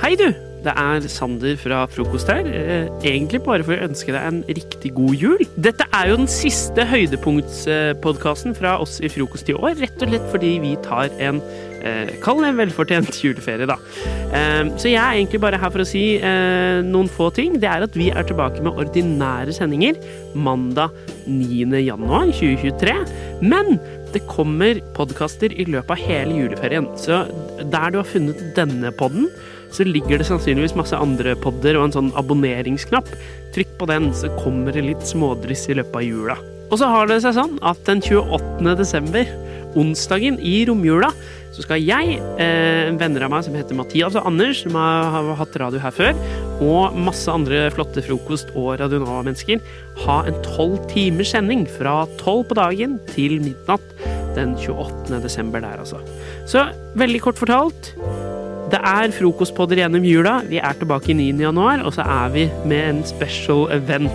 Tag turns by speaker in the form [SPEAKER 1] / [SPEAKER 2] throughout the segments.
[SPEAKER 1] Hei, du! Det er Sander fra Frokost her. Eh, Egentlig bare for å ønske deg en riktig god jul. Dette er jo den siste høydepunktspodkasten fra oss i Frokost i år, rett og slett fordi vi tar en eh, Kall det en velfortjent juleferie, da. Eh, Så jeg er egentlig bare her for å si eh, noen få ting. Det er at vi er tilbake med ordinære sendinger mandag 9. januar 2023. Men det kommer podkaster i løpet av hele juleferien. Så der du har funnet denne podden, så ligger det sannsynligvis masse andre podder og en sånn abonneringsknapp. Trykk på den, så kommer det litt smådryss i løpet av jula. Og så har det seg sånn at den 28. desember, onsdagen i romjula, så skal jeg, eh, venner av meg som heter Mathias og Anders, som har, har hatt radio her før, og masse andre flotte frokost- og Radionova-mennesker, ha en tolv timers sending fra tolv på dagen til midnatt den 28. desember der, altså. Så veldig kort fortalt, det er frokostpodder gjennom jula. Vi er tilbake 9. januar, og så er vi med en special event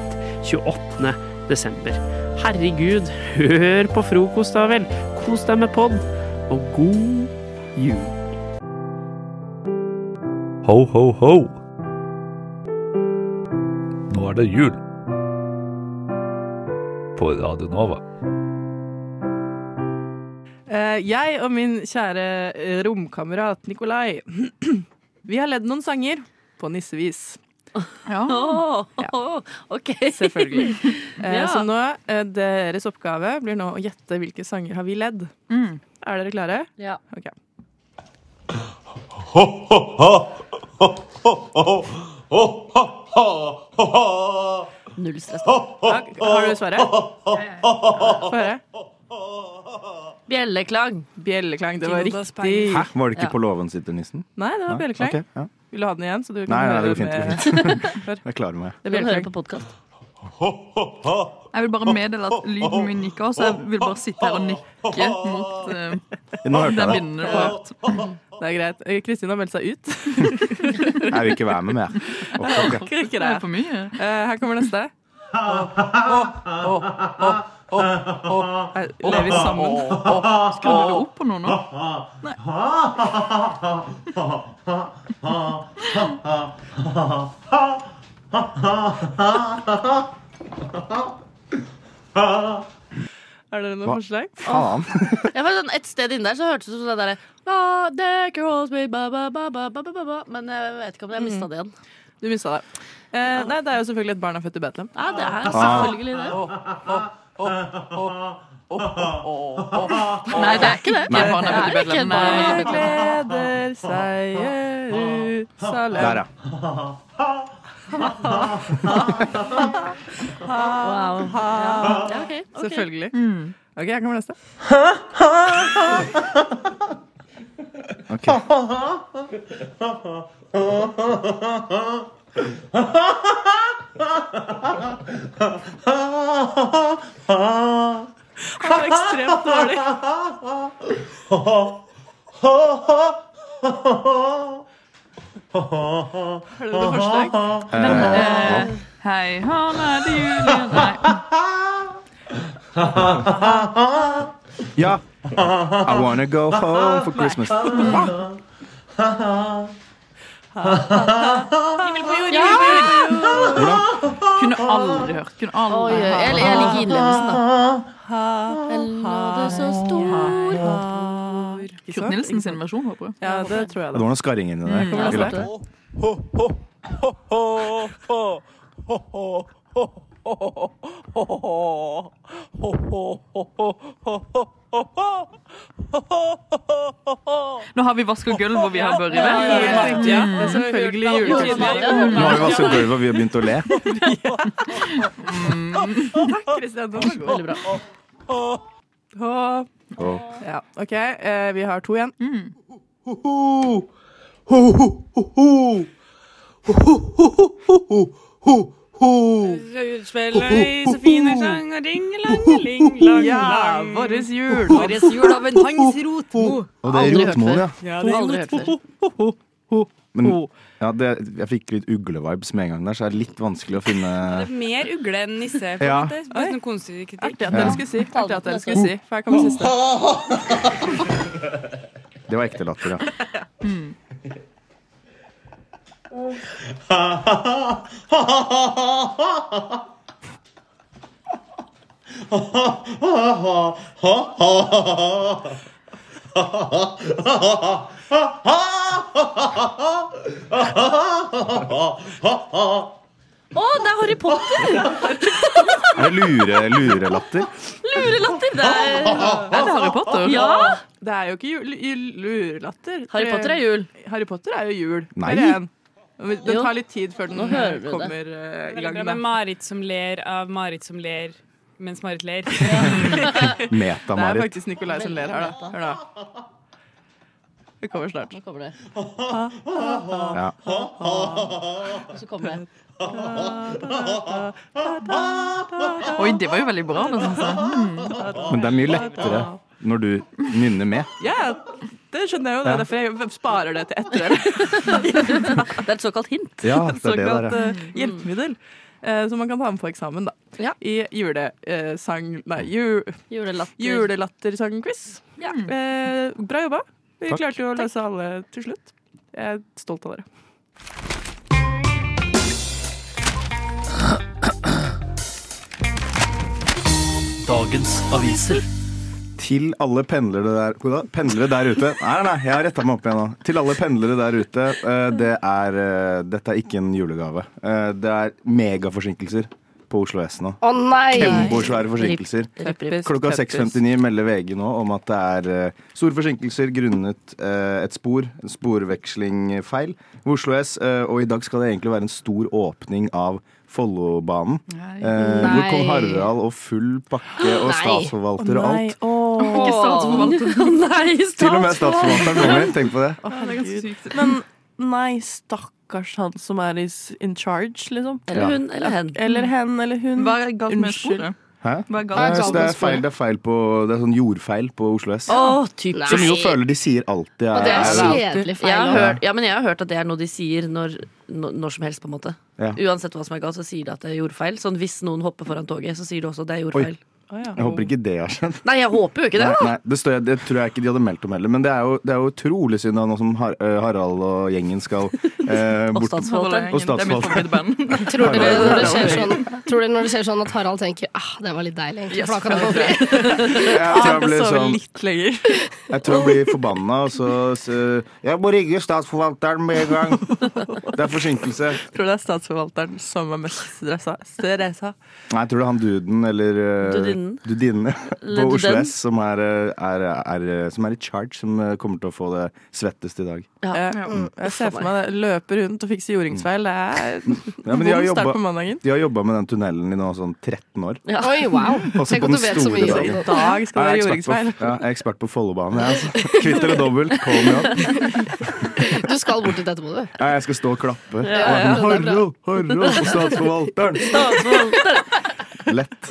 [SPEAKER 1] 28. desember. Herregud, hør på frokost da vel. Kos deg med pod, og god jul.
[SPEAKER 2] Ho, ho, ho. Nå er det jul. På Radio Nova.
[SPEAKER 3] Eh, jeg og min kjære eh, romkamerat Nikolai, vi har ledd noen sanger på nissevis.
[SPEAKER 4] Åh, OK.
[SPEAKER 3] Selvfølgelig. Eh,
[SPEAKER 4] Ja.
[SPEAKER 3] Så nå, eh, deres oppgave blir nå å gjette hvilke sanger har vi ledd.
[SPEAKER 4] Mm.
[SPEAKER 3] Er dere klare?
[SPEAKER 4] Ja.
[SPEAKER 3] Ok.
[SPEAKER 4] Null stress.
[SPEAKER 3] Ja, har du svaret? Få høre.
[SPEAKER 4] Bjelleklang.
[SPEAKER 3] Bjelleklang. Det var
[SPEAKER 5] Tilda
[SPEAKER 3] riktig.
[SPEAKER 5] Speil.
[SPEAKER 6] Hæ, var det ikke
[SPEAKER 4] Ja.
[SPEAKER 6] på låven sitter nissen?
[SPEAKER 3] Nei, det var
[SPEAKER 6] Ja,
[SPEAKER 3] bjelleklang.
[SPEAKER 6] ok, ja.
[SPEAKER 3] Vil du ha den igjen? Så du kan
[SPEAKER 6] Nei, nei,
[SPEAKER 3] høre eh,
[SPEAKER 6] det går fint.
[SPEAKER 3] med-
[SPEAKER 6] Det går fint. Jeg klarer meg.
[SPEAKER 3] Det er
[SPEAKER 4] Kan du høre på
[SPEAKER 3] bjelleklang.
[SPEAKER 4] podkast?
[SPEAKER 5] Jeg vil bare meddele at lyden min gikk av, så jeg vil bare sitte her og nikke mot eh,
[SPEAKER 6] Nå hørte
[SPEAKER 5] den
[SPEAKER 6] jeg det.
[SPEAKER 5] vinden du har hørt.
[SPEAKER 3] Det er greit. Eh, Kristin har meldt seg ut.
[SPEAKER 6] Jeg vil ikke være med mer. Ok, ok.
[SPEAKER 3] Ikke det.
[SPEAKER 5] Det er for mye.
[SPEAKER 3] Eh, Her kommer neste. Her Lever vi sammen?
[SPEAKER 5] Skrur du det opp på noe nå?
[SPEAKER 3] Er dere noen
[SPEAKER 6] Hva?
[SPEAKER 3] forslag?
[SPEAKER 6] Faen.
[SPEAKER 4] Jeg var sånn, et sted inne der så hørtes det ut som det derre «Ah, there crawls me, ba, ba, ba, ba, ba, ba, ba, ba». Men jeg vet ikke om jeg mista det igjen.
[SPEAKER 3] Du mista det. Eh, nei, det er jo selvfølgelig et barn er født i Betlehem.
[SPEAKER 4] Ja, det
[SPEAKER 6] Ah.
[SPEAKER 4] er selvfølgelig det.
[SPEAKER 5] Nei, det er ikke det. Nei, barn er
[SPEAKER 4] Det er
[SPEAKER 5] født i
[SPEAKER 4] ikke et
[SPEAKER 5] Betlehem.
[SPEAKER 4] barn.
[SPEAKER 5] Nei,
[SPEAKER 3] Det gleder seg Jerusalem.
[SPEAKER 6] Der, ja.
[SPEAKER 4] Wow. Ja, ok, ok. Mm.
[SPEAKER 3] Selvfølgelig. OK, her kommer neste.
[SPEAKER 6] Ok.
[SPEAKER 3] Det var ekstremt dårlig. Har dere noen forslag?
[SPEAKER 5] Eh, Hei, ha, nei, det er jul igjen. Nei,
[SPEAKER 6] Uh, Ja.
[SPEAKER 5] Uh,
[SPEAKER 6] I wanna go home for Christmas.
[SPEAKER 5] kunne aldri hørt. Kunne
[SPEAKER 4] Oi,
[SPEAKER 5] aldri
[SPEAKER 4] oi,
[SPEAKER 5] hørt.
[SPEAKER 4] jeg, jeg liker innlevelsen, da. Vel, nå er du så stor.
[SPEAKER 3] Ikke sant?
[SPEAKER 5] Kurt Nilsen sin versjon, håper jeg.
[SPEAKER 3] Ja, det tror jeg
[SPEAKER 6] Det
[SPEAKER 3] det.
[SPEAKER 6] var noe skarring inni der.
[SPEAKER 4] Mm, Ja,
[SPEAKER 6] Vi lærte.
[SPEAKER 4] sant
[SPEAKER 5] Nå har vi vaska gulvet, og vi har børre i
[SPEAKER 3] Ja,
[SPEAKER 5] det.
[SPEAKER 3] helt riktig. Det er Mm, selvfølgelig
[SPEAKER 4] det.
[SPEAKER 3] julekvelden.
[SPEAKER 6] Nå har vi vasket gulvet, og vi har begynt å le.
[SPEAKER 3] Kristian, den var god.
[SPEAKER 4] Veldig bra.
[SPEAKER 3] Hå.
[SPEAKER 6] Og
[SPEAKER 3] Ja, OK, eh, vi har to igjen.
[SPEAKER 7] Rødspilløy, så fine sang og ringelangeling-lang-lang.
[SPEAKER 3] Ja, vår jul.
[SPEAKER 4] Årets jul av en tangs rotmo.
[SPEAKER 6] og det er
[SPEAKER 4] Aldri hørt
[SPEAKER 6] rotmoen, ja.
[SPEAKER 3] Ja, det-
[SPEAKER 4] Aldri hørt før.
[SPEAKER 6] Men ja, det, jeg fikk litt uglevibes med en gang der, så det er litt vanskelig å finne
[SPEAKER 7] Det er mer ugle enn nisse. på
[SPEAKER 6] Ja.
[SPEAKER 7] en måte. Det er sånn konstruktiv kritikk.
[SPEAKER 3] Artig at dere
[SPEAKER 6] Ja.
[SPEAKER 3] skulle si. Artig at dere skulle si. For her kommer siste.
[SPEAKER 6] Det var ekte latter, ja.
[SPEAKER 4] Å, det er Harry Potter!
[SPEAKER 8] Er det lure, lurelatter?
[SPEAKER 4] Lurelatter! Det er
[SPEAKER 3] Er det Harry Potter?
[SPEAKER 4] Ja!
[SPEAKER 3] Det er jo ikke jul, jul- lurelatter.
[SPEAKER 4] Harry Potter er jul.
[SPEAKER 3] Harry Potter er jo jul.
[SPEAKER 8] Nei.
[SPEAKER 3] Det er en. Det
[SPEAKER 4] Jo.
[SPEAKER 3] tar litt tid før den
[SPEAKER 4] Nå hører du det.
[SPEAKER 3] kommer eh, i
[SPEAKER 9] Veldig
[SPEAKER 3] gang.
[SPEAKER 9] bra
[SPEAKER 3] da.
[SPEAKER 9] med Marit som ler av Marit som ler mens Marit ler.
[SPEAKER 3] Det er
[SPEAKER 8] Meta-Marit.
[SPEAKER 3] faktisk Nikolai som ler her, da. Hør da. Det kommer snart.
[SPEAKER 4] Nå kommer det.
[SPEAKER 8] Ja.
[SPEAKER 4] Og så kommer det.
[SPEAKER 5] Oi, det var jo veldig bra. Da, synes jeg.
[SPEAKER 8] Men det er mye lettere når du nynner med.
[SPEAKER 3] Ja, det skjønner jeg jo. Det er derfor jeg sparer det til etter. eller?
[SPEAKER 4] Det er et såkalt hint.
[SPEAKER 8] Ja, det er det der,
[SPEAKER 3] Såkalt
[SPEAKER 8] ja.
[SPEAKER 3] eh, hjelpemiddel. eh, som man kan ta med på eksamen, da.
[SPEAKER 4] Ja.
[SPEAKER 3] I julesang... Nei, ju,
[SPEAKER 4] Julelatter.
[SPEAKER 3] julelattersangquiz.
[SPEAKER 4] Ja.
[SPEAKER 3] Eh, bra jobba. Vi
[SPEAKER 8] Takk.
[SPEAKER 3] klarte jo å løse alle til slutt. Jeg er stolt av dere.
[SPEAKER 10] Dagens aviser.
[SPEAKER 8] Til alle pendlere der, Hva da? pendlere der ute Nei, nei, nei, jeg har retta meg opp igjen nå. Til alle pendlere der ute, eh, det er, eh, dette er ikke en julegave. Eh, Det er megaforsinkelser på Oslo S nå.
[SPEAKER 4] Å nei!
[SPEAKER 8] Kjempesvære forsinkelser. Klokka 6.59 melder VG nå om at det er eh, store forsinkelser grunnet eh, et spor, en sporvekslingfeil ved Oslo S. eh, og i dag skal det egentlig være en stor åpning av Follobanen. eh, hvor
[SPEAKER 4] Nei.
[SPEAKER 8] kong Harald og full pakke og
[SPEAKER 4] Nei.
[SPEAKER 8] statsforvalter og alt.
[SPEAKER 5] Ikke statsforvalter.
[SPEAKER 4] Å nei,
[SPEAKER 8] Til og med statsforvalteren kommer. Tenk på det.
[SPEAKER 5] Det er ganske sykt.
[SPEAKER 3] Men nei, stakkars han som er i s- in charge, liksom.
[SPEAKER 8] Ja.
[SPEAKER 4] Eller hun eller hen.
[SPEAKER 3] Eller hen eller hun.
[SPEAKER 5] Hva er galt med
[SPEAKER 3] Unnskyld.
[SPEAKER 5] sporet?
[SPEAKER 8] Hæ?
[SPEAKER 5] Hva er
[SPEAKER 8] Nei,
[SPEAKER 5] galt
[SPEAKER 8] så
[SPEAKER 5] med
[SPEAKER 8] det
[SPEAKER 5] sporet?
[SPEAKER 8] er feil, det er feil på Det er sånn jordfeil på Oslo S.
[SPEAKER 4] Å, typisk.
[SPEAKER 8] Som jo føler de sier alltid
[SPEAKER 11] Og det er
[SPEAKER 8] er-
[SPEAKER 11] kjedelig feil.
[SPEAKER 4] Jeg har
[SPEAKER 11] også.
[SPEAKER 4] hørt, ja, men jeg har hørt at det er noe de sier når, når, når som helst, på en måte.
[SPEAKER 8] Ja.
[SPEAKER 4] Uansett hva som er galt, så sier de at det er jordfeil. Sånn hvis noen hopper foran toget, så sier de også at det er jordfeil.
[SPEAKER 3] Å, ja.
[SPEAKER 8] Jeg håper ikke det har skjedd.
[SPEAKER 4] Nei, jeg håper jo ikke det.
[SPEAKER 8] Nei, nei, det, står, det tror jeg ikke de hadde meldt om heller. Men det er jo, det er jo utrolig synd da, nå som Har eh, Harald og gjengen skal eh,
[SPEAKER 4] Og
[SPEAKER 8] bort.
[SPEAKER 4] statsforvalteren.
[SPEAKER 8] Og
[SPEAKER 5] Det er mitt favorittband.
[SPEAKER 11] Tror dere
[SPEAKER 8] Harald.
[SPEAKER 11] når det skjer sånn, tror dere når det skjer sånn at Harald tenker ah, det var litt deilig, egentlig, for da kan jeg få fri?
[SPEAKER 8] Jeg tror jeg
[SPEAKER 3] Jeg
[SPEAKER 8] blir,
[SPEAKER 3] sover
[SPEAKER 8] sånn,
[SPEAKER 3] litt lenger.
[SPEAKER 8] jeg tror jeg blir forbanna, og så, så Jeg må ringe statsforvalteren med en gang! Det er forsinkelse.
[SPEAKER 3] Tror det er statsforvalteren som er mest stressa. stressa.
[SPEAKER 8] Nei, jeg tror det er han duden eller eh,
[SPEAKER 4] Dudinnen.
[SPEAKER 8] Dudinnen på
[SPEAKER 4] Eller
[SPEAKER 8] Oslo
[SPEAKER 4] duden.
[SPEAKER 8] S som er, eh, er, er, eh, som er i charge, som eh, kommer til å få det svettest i dag.
[SPEAKER 4] Ja.
[SPEAKER 3] Jeg, Mm. jeg ser for meg det. Løpe rundt og fikse jordingsfeil. Det er
[SPEAKER 8] Ja, men de har
[SPEAKER 3] vond start på
[SPEAKER 8] jobba-
[SPEAKER 3] mandagen.
[SPEAKER 8] de har jobba med den tunnelen i nå sånn 13 år.
[SPEAKER 4] Ja.
[SPEAKER 11] Oi, wow.
[SPEAKER 8] Også
[SPEAKER 11] Tenk
[SPEAKER 8] på
[SPEAKER 11] at du
[SPEAKER 8] den
[SPEAKER 11] vet så
[SPEAKER 8] store
[SPEAKER 11] mye
[SPEAKER 8] dagen.
[SPEAKER 11] om
[SPEAKER 3] I dag skal det være
[SPEAKER 8] Jeg er ekspert
[SPEAKER 3] jordingsfeil.
[SPEAKER 8] på- Ja, jeg er ekspert på Follobanen. jeg, altså. Kvitt eller dobbelt, call me up.
[SPEAKER 11] det. Du skal bort dit etterpå, du.
[SPEAKER 8] Ja, Jeg skal stå og klappe.
[SPEAKER 11] ja, ja, det er bra.
[SPEAKER 8] Harald, Harald, statsforvalteren! Lett.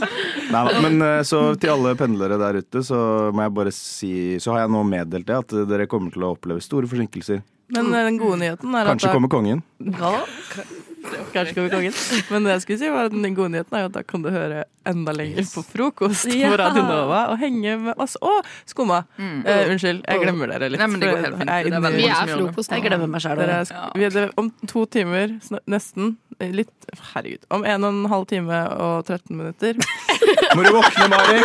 [SPEAKER 8] Nei, da, men eh, så til alle pendlere der ute, så må jeg bare si Så har jeg nå meddelt det, at dere kommer til å oppleve store forsinkelser.
[SPEAKER 3] Men eh, den gode nyheten er at
[SPEAKER 8] Kanskje
[SPEAKER 3] da-
[SPEAKER 8] kommer kongen.
[SPEAKER 3] Kanskje kommer kongen. Men det jeg skulle si var at den gode nyheten er jo at da kan du høre enda lenger på frokost
[SPEAKER 4] Ja.
[SPEAKER 3] på Radio Nova og henge med oss. Å, skumma! Eh, unnskyld, jeg glemmer dere litt.
[SPEAKER 5] Mm. Nei, men det
[SPEAKER 3] for
[SPEAKER 5] går helt fint.
[SPEAKER 3] jeg er
[SPEAKER 5] Det
[SPEAKER 3] inne
[SPEAKER 5] er
[SPEAKER 3] i-
[SPEAKER 5] veldig
[SPEAKER 11] Vi
[SPEAKER 5] Mange som
[SPEAKER 11] er
[SPEAKER 5] gjør det.
[SPEAKER 11] frokost
[SPEAKER 4] Jeg
[SPEAKER 11] nå.
[SPEAKER 4] glemmer meg sjæl.
[SPEAKER 3] Dere er sk- vi er dere- om to timer, sn- nesten, eh, litt Herregud. Om en og en halv time og 13 minutter,
[SPEAKER 8] Må du våkne, Marit!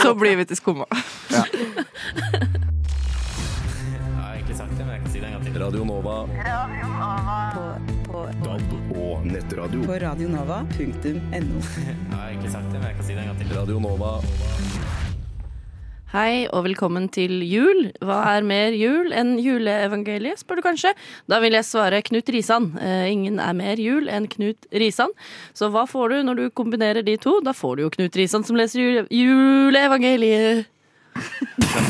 [SPEAKER 3] så blir vi til skumma.
[SPEAKER 2] Radio Nova. DAB og nettradio.
[SPEAKER 12] På radionova.no.
[SPEAKER 2] Radio Nova.
[SPEAKER 4] Hei og velkommen til jul. Hva er mer jul enn juleevangeliet, spør du kanskje? Da vil jeg svare Knut Risan. Eh, ingen er mer jul enn Knut Risan. Så hva får du når du kombinerer de to? Da får du jo Knut Risan som leser jule juleevangeliet.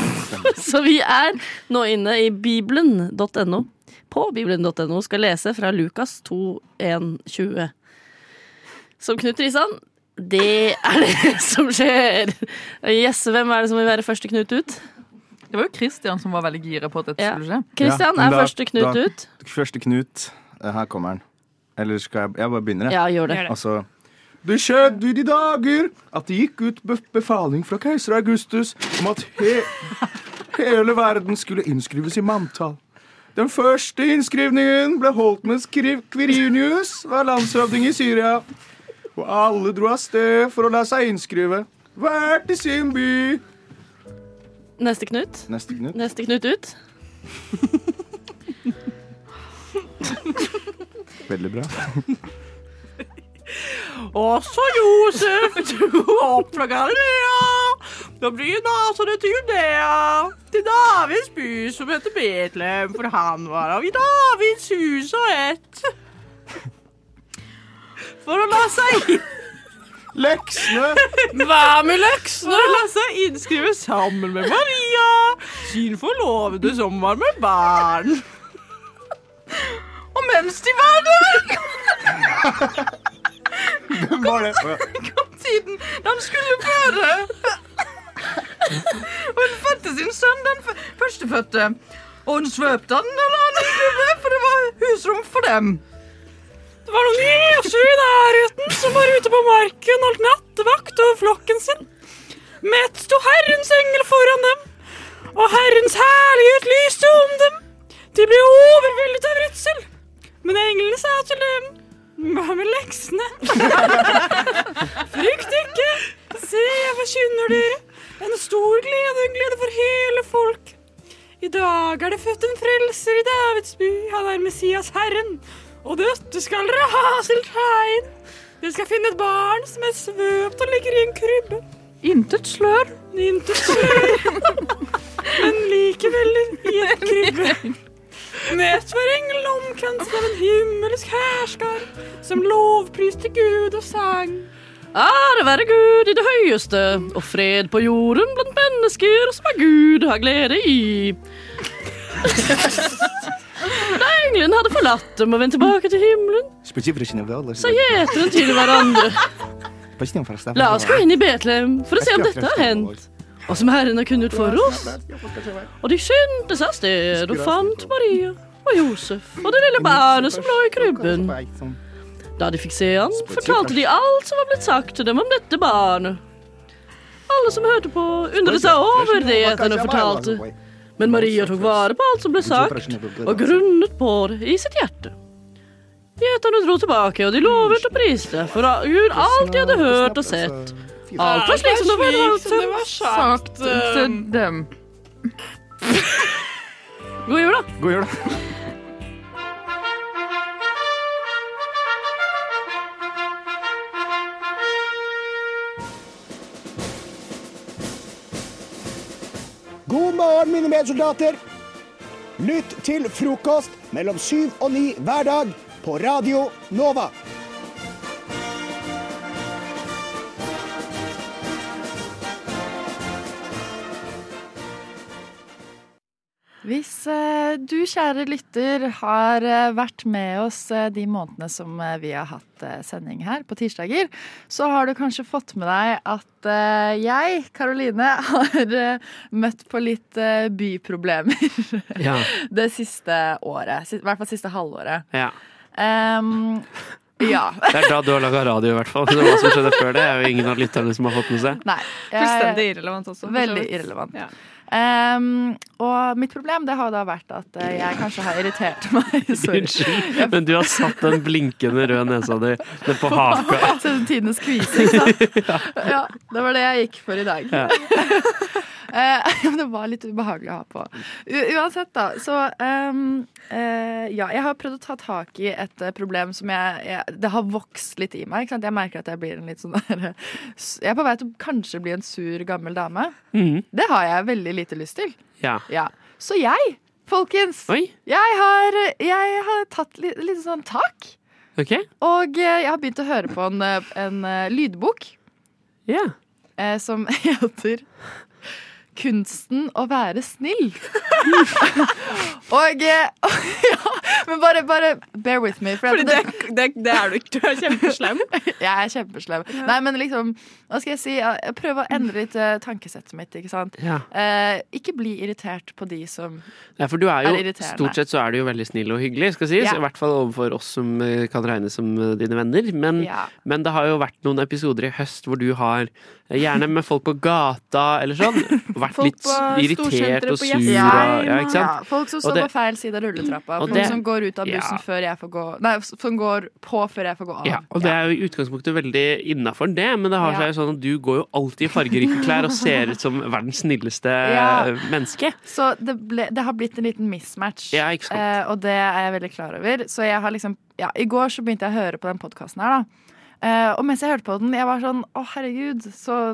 [SPEAKER 4] Så vi er nå inne i bibelen.no. På bibelen.no skal lese fra Lukas 2.1.20. Som Knut Risan, det er det som skjer. Yes, hvem er det som vil være første Knut ut?
[SPEAKER 5] Det var jo Christian som var veldig gira på at dette
[SPEAKER 4] Ja.
[SPEAKER 5] skulle skje.
[SPEAKER 8] Ja,
[SPEAKER 4] Christian
[SPEAKER 8] men
[SPEAKER 4] er
[SPEAKER 8] da-
[SPEAKER 4] første Knut
[SPEAKER 8] da-
[SPEAKER 4] ut.
[SPEAKER 8] Første Knut. Eh, Her kommer han. Eller skal jeg Jeg bare begynner, jeg.
[SPEAKER 4] Ja, gjør det.
[SPEAKER 9] Gjør det.
[SPEAKER 8] Altså Det skjedde i de dager at det gikk ut bef- befaling fra keiser Augustus om at he hele verden skulle innskrives i manntall.
[SPEAKER 6] Den første innskrivningen ble holdt mens Kriv- Kvirinius var landsråding i Syria. Og alle dro av sted for å la seg innskrive. Hver til sin by.
[SPEAKER 4] Neste Knut.
[SPEAKER 6] Neste Knut.
[SPEAKER 4] Neste Knut ut.
[SPEAKER 6] Veldig bra.
[SPEAKER 7] Også Josef dro opp fra Galilea. Da blir Nasaret til Judea, til Davids by som heter Betlehem, for han var av i Davids hus og ett. For å la seg inn...
[SPEAKER 6] Leksene!
[SPEAKER 7] Hva med leksene? For å la seg innskrive sammen med Maria, sin forlovede som var med barn. Og mens de var der
[SPEAKER 6] Hvem var det? Å, ja.
[SPEAKER 7] kom tiden da han skulle føde. Og hun fødte sin sønn, den fø- førstefødte. Og hun svøpte han og la han i skubbe, for det var husrom for dem. Det var noen gjesjer i nærheten som var ute på marken, holdt nattevakt over flokken sin. Mett sto Herrens engel foran dem, og Herrens herlighet lyste om dem. De ble overveldet av redsel, men englene sa til dem hva med leksene? Frykt ikke! Se, jeg forkynner dere en stor glede, en glede for hele folk. I dag er det født en frelser i Davids by. Han er Messias Herren. Og dette skal dere ha til tegn. Dere skal finne et barn som er svøpt og ligger i en krybbe. Intet slør. Intet slør. Men likevel i en krybbe. Møt hver engel omkranset av en himmelsk hærskar som lovpriste Gud og sang.
[SPEAKER 4] Ære være Gud i det høyeste, og fred på jorden blant mennesker som er Gud har glede i. Da englene hadde forlatt dem og vendt tilbake til himmelen, så gjeteren til hverandre. La oss gå inn i Betlehem for å se om dette har hendt, og som Herren har kunnet for oss. Og de skyndte seg av sted og fant Maria og Josef og det lille barnet som lå i krybben. Da de fikk se han, fortalte de alt som var blitt sagt til dem om dette barnet. Alle som hørte på, undret seg over det gjeterne fortalte. Men Maria tok vare på alt som ble sagt, og grunnet på det i sitt hjerte. Gjeterne dro tilbake, og de lovet og priste for Gud alt de hadde hørt og sett. Alt var slik som det var eh,
[SPEAKER 5] sagt til dem.
[SPEAKER 4] God jul, da.
[SPEAKER 6] God jul.
[SPEAKER 13] God morgen, mine medsoldater. Lytt til frokost mellom syv og ni hver dag på Radio Nova.
[SPEAKER 14] Hvis eh, du, kjære lytter, har eh, vært med oss eh, de månedene som eh, vi har hatt eh, sending her på tirsdager, så har du kanskje fått med deg at eh, jeg, Karoline, har eh, møtt på litt eh, byproblemer
[SPEAKER 1] Ja.
[SPEAKER 14] det siste året. si- I hvert fall siste halvåret.
[SPEAKER 1] Ja.
[SPEAKER 14] Em, ja.
[SPEAKER 1] Det er da du har laga radio, i hvert fall. Så Hva som skjedde før det, er jo ingen av lytterne som har fått med seg.
[SPEAKER 14] Nei.
[SPEAKER 5] Fullstendig irrelevant også, for så
[SPEAKER 14] Veldig
[SPEAKER 5] vidt.
[SPEAKER 14] irrelevant. Em, og mitt problem det har da vært at eh, jeg kanskje har irritert meg. Sorry.
[SPEAKER 1] Unnskyld, men du har satt den blinkende røde nesa di ned på haka.
[SPEAKER 14] Så Tidenes kvise, ikke sant? Ja, det var det jeg gikk for i dag.
[SPEAKER 1] Ja.
[SPEAKER 14] Eh, men det var litt ubehagelig å ha på. U uansett, da. Så ehm, eh, ja, jeg har prøvd å ta tak i et eh, problem som jeg, jeg Det har vokst litt i meg. Ikke sant? Jeg merker at jeg blir en litt sånn der s- Jeg er på vei til å kanskje bli en sur, gammel dame.
[SPEAKER 1] Mhm.
[SPEAKER 14] Det har jeg veldig lite lyst til.
[SPEAKER 1] Ja.
[SPEAKER 14] Ja. Så jeg, folkens, jeg har, jeg har tatt litt, litt sånn tak.
[SPEAKER 1] OK?
[SPEAKER 14] Og eh, jeg har begynt å høre på en, eh, en eh, lydbok eh, som heter Kunsten å være snill. og eh, ja, Men bare, bare bear with me. For at
[SPEAKER 7] Fordi det, det, det er du ikke. Du er kjempeslem.
[SPEAKER 14] jeg er kjempeslem.
[SPEAKER 7] Ja.
[SPEAKER 14] Nei, men liksom, hva skal jeg si? Jeg prøver å endre litt eh, tankesettet mitt, ikke sant?
[SPEAKER 1] Ja.
[SPEAKER 14] Eh, ikke bli irritert på de som
[SPEAKER 1] Nei, for du er jo
[SPEAKER 14] Er det irriterende?
[SPEAKER 1] Stort sett så er du jo veldig snill og hyggelig, skal sies.
[SPEAKER 14] Ja.
[SPEAKER 1] I hvert fall overfor oss som eh, kan regnes som eh, dine venner. Men,
[SPEAKER 14] Ja.
[SPEAKER 1] men det har jo vært noen episoder i høst hvor du har eh, Gjerne med folk på gata eller sånn. vært litt irritert og sur.
[SPEAKER 14] Ja,
[SPEAKER 1] og- ja, ikke sant?
[SPEAKER 14] ja, folk som
[SPEAKER 1] Og
[SPEAKER 14] står
[SPEAKER 1] det- Mm.
[SPEAKER 14] på feil side av rulletrappa.
[SPEAKER 1] Og
[SPEAKER 14] Folk
[SPEAKER 1] det-
[SPEAKER 14] som går ut av bussen
[SPEAKER 1] ja.
[SPEAKER 14] før jeg får gå Nei, som går på før jeg får gå av.
[SPEAKER 1] Ja, og det er jo i utgangspunktet veldig innafor det, men det har
[SPEAKER 14] Ja.
[SPEAKER 1] seg jo sånn at du går jo alltid i fargerike klær og ser ut som verdens snilleste
[SPEAKER 14] Ja.
[SPEAKER 1] eh, menneske.
[SPEAKER 14] Så det, ble, det har blitt en liten mismatch,
[SPEAKER 1] Ja, ikke sant.
[SPEAKER 14] Eh, og det er jeg veldig klar over. Så jeg har liksom ja, I går så begynte jeg å høre på den podkasten her, da. Eh, og mens jeg hørte på den, jeg var sånn Å, herregud, så,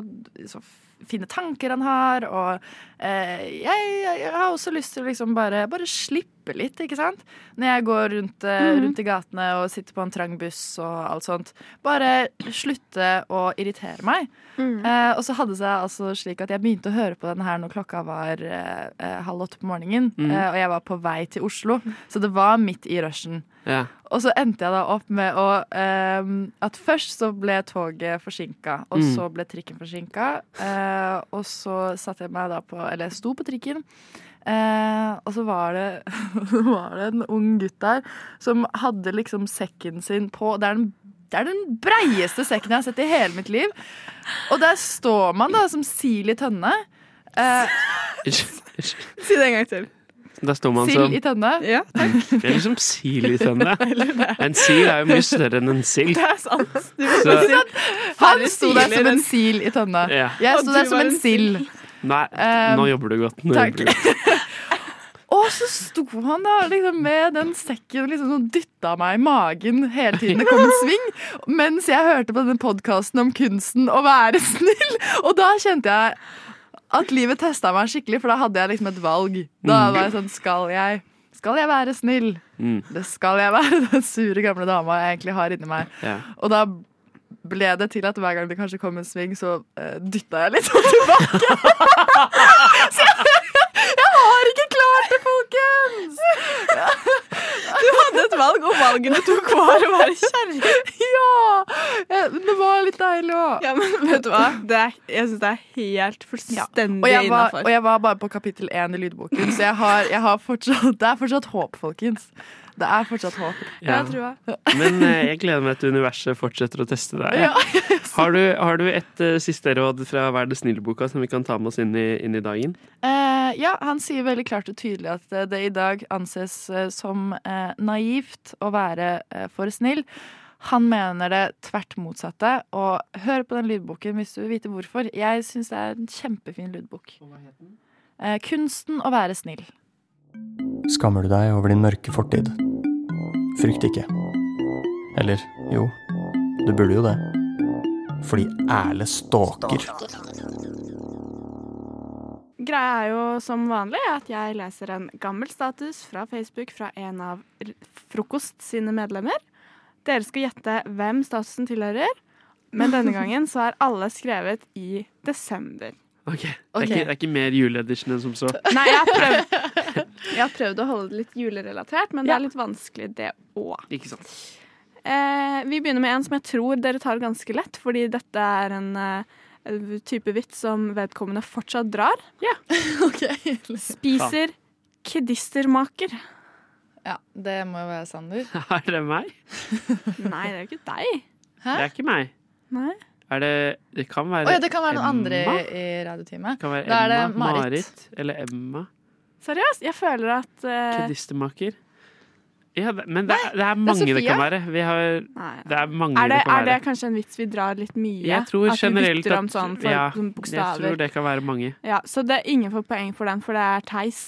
[SPEAKER 14] så fine tanker han har. Og eh, jeg, jeg, jeg har også lyst til å liksom bare, bare slippe litt, ikke sant? Når jeg går rundt, eh,
[SPEAKER 15] Mhm.
[SPEAKER 14] rundt i gatene og sitter på en trang buss og alt sånt. Bare slutte å irritere meg. Eh, og så hadde det seg altså slik at jeg begynte å høre på den her når klokka var eh, eh, halv åtte på morgenen.
[SPEAKER 1] Mhm.
[SPEAKER 14] eh, og jeg var på vei til Oslo, så det var midt i rushen.
[SPEAKER 1] Ja.
[SPEAKER 14] Og så endte jeg da opp med å ehm, At først så ble toget forsinka, og
[SPEAKER 15] Mm.
[SPEAKER 14] så ble trikken forsinka. eh, og så satte jeg meg da på Eller jeg sto på trikken. eh, og så var det, var det en ung gutt der som hadde liksom sekken sin på Det er den, det er den breieste sekken jeg har sett i hele mitt liv. Og der står man da som sild i tønne. Eh, si det en gang til.
[SPEAKER 1] Da står man som
[SPEAKER 14] Sild i tønne. Ja,
[SPEAKER 1] Det er liksom sil i tønne. En sil er jo mye større enn en sild.
[SPEAKER 14] Det er sant.
[SPEAKER 1] Så-
[SPEAKER 14] Ikke sant? Han
[SPEAKER 1] Færre
[SPEAKER 14] sto der
[SPEAKER 1] siler
[SPEAKER 14] som
[SPEAKER 1] enn-
[SPEAKER 14] en sil i tønne.
[SPEAKER 1] Ja.
[SPEAKER 14] Jeg
[SPEAKER 1] Og
[SPEAKER 14] sto
[SPEAKER 1] du
[SPEAKER 14] der som
[SPEAKER 1] var
[SPEAKER 14] en
[SPEAKER 1] en
[SPEAKER 14] sild.
[SPEAKER 1] Nei, nå jobber du godt. Nå
[SPEAKER 14] Eh, takk.
[SPEAKER 1] jobber du godt.
[SPEAKER 14] Og så sto han da liksom med den sekken og liksom sånn dytta meg i magen hele tiden. Det kom en sving. Mens jeg hørte på denne podkasten om kunsten å være snill. Og da kjente jeg at livet testa meg skikkelig, for da hadde jeg liksom et valg. Da
[SPEAKER 15] Mm.
[SPEAKER 14] var jeg sånn Skal jeg, skal jeg være snill?
[SPEAKER 1] Mm.
[SPEAKER 14] Det skal jeg være, den sure gamle dama jeg egentlig har inni meg.
[SPEAKER 1] Ja.
[SPEAKER 14] Og da ble det til at hver gang det kanskje kom en sving, så uh, dytta jeg litt sånn tilbake. så jeg, jeg har ikke klart det, folkens! Du hadde et valg, og valgene tok var å være kjerring. Ja! eh, Men det var litt deilig òg.
[SPEAKER 15] Ja, men vet du hva? Det er, jeg syns det er helt
[SPEAKER 14] Og
[SPEAKER 15] fullstendig
[SPEAKER 14] jeg, var,
[SPEAKER 15] innafor.
[SPEAKER 14] og jeg var bare på kapittel én i lydboken, så jeg har, jeg har fortsatt, det er fortsatt håp, folkens. Det er fortsatt håp.
[SPEAKER 1] Ja. Jeg
[SPEAKER 14] tror jeg.
[SPEAKER 1] Men eh, jeg gleder meg til universet fortsetter å teste deg.
[SPEAKER 14] Ja.
[SPEAKER 1] Har du, har du et eh, siste råd fra Vær det snille-boka som vi kan ta med oss inn i, inn i dagen?
[SPEAKER 14] Eh, ja, han sier veldig klart og tydelig at eh, det i dag anses eh, som eh, naivt å være eh, for snill. Han mener det tvert motsatte. Og hør på den lydboken hvis du vil vite hvorfor. Jeg syns det er en kjempefin lydbok. Eh, 'Kunsten å være snill'.
[SPEAKER 16] Skammer du deg over din mørke fortid? Frykt ikke. Eller jo, du burde jo det. Fordi Erle stalker.
[SPEAKER 15] Greia er jo som vanlig at jeg leser en gammel status fra Facebook fra en av R- Frokost sine medlemmer. Dere skal gjette hvem statusen tilhører, men denne gangen så er alle skrevet i desember.
[SPEAKER 1] Det, er ikke, det er ikke mer juleedition enn som så.
[SPEAKER 15] Nei, jeg har prøvd, jeg har prøvd å holde det litt julerelatert, men det er litt vanskelig det òg.
[SPEAKER 1] Ikke sant.
[SPEAKER 15] Eh, vi begynner med en som jeg tror dere tar ganske lett, fordi dette er en eh, type vits som vedkommende fortsatt drar. Spiser kedistermaker.
[SPEAKER 14] Ja, det må jo være Sander.
[SPEAKER 1] Er det meg?
[SPEAKER 15] Nei, det er jo ikke deg.
[SPEAKER 1] Det er ikke meg.
[SPEAKER 15] Nei.
[SPEAKER 1] Er det, det kan være
[SPEAKER 14] Å ja, det kan være noen andre
[SPEAKER 1] Emma.
[SPEAKER 14] i, i radioteamet.
[SPEAKER 1] Det kan være
[SPEAKER 14] Da er det
[SPEAKER 1] Emma, Marit.
[SPEAKER 14] Marit.
[SPEAKER 1] eller Emma.
[SPEAKER 15] Seriøst, jeg føler at eh,
[SPEAKER 1] Kedistermaker. Ja, det- men det, er- det er mange det,
[SPEAKER 15] Sofia.
[SPEAKER 1] kan være. Vi har, det er mange
[SPEAKER 15] er det,
[SPEAKER 1] kan
[SPEAKER 15] er det
[SPEAKER 1] være.
[SPEAKER 15] kanskje en vits vi drar litt mye?
[SPEAKER 1] jeg tror
[SPEAKER 15] at vi
[SPEAKER 1] generelt
[SPEAKER 15] bytter om sånn for sånn
[SPEAKER 1] ja, Jeg tror
[SPEAKER 15] bokstaver?
[SPEAKER 1] det kan være mange.
[SPEAKER 15] Ja, så det er ingen får poeng for den, for det er Theis.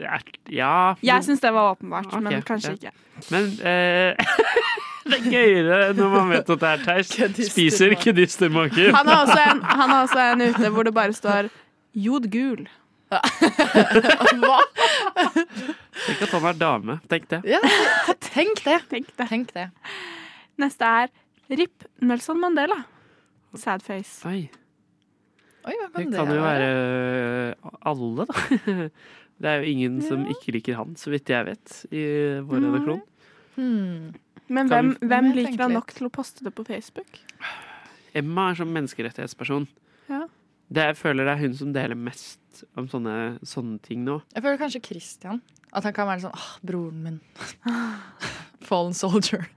[SPEAKER 1] Det er- Ja
[SPEAKER 15] Jeg syns det var åpenbart,
[SPEAKER 1] Ok,
[SPEAKER 15] men kanskje
[SPEAKER 1] ja.
[SPEAKER 15] ikke.
[SPEAKER 1] Men eh, det er gøyere når man vet at det er Theis. Spiser kedistermaker.
[SPEAKER 15] Han har også en, han har også en ute hvor det bare står jodgul.
[SPEAKER 1] Tenk at han er dame. Tenk det.
[SPEAKER 14] tenk det.
[SPEAKER 15] Tenk det.
[SPEAKER 14] Tenk det.
[SPEAKER 15] Neste er RIP Nelson Mandela. Sadface.
[SPEAKER 1] Oi.
[SPEAKER 14] Oi, hva
[SPEAKER 1] Det kan jo være øh, alle, da. Det er jo ingen som ikke liker han, så vidt jeg vet, i vår
[SPEAKER 15] Nei.
[SPEAKER 1] redaksjon.
[SPEAKER 15] Men
[SPEAKER 1] Kan
[SPEAKER 15] hvem,
[SPEAKER 1] vi-
[SPEAKER 15] hvem
[SPEAKER 1] Må jeg
[SPEAKER 15] liker
[SPEAKER 1] tenke
[SPEAKER 15] han
[SPEAKER 1] litt.
[SPEAKER 15] nok til å poste det på Facebook?
[SPEAKER 1] Emma er som menneskerettighetsperson.
[SPEAKER 15] Ja.
[SPEAKER 1] Det jeg føler det er hun som deler mest om sånne, sånne ting nå.
[SPEAKER 14] Jeg føler kanskje Christian. At han kan være sånn Åh, broren min. Fallen soldier.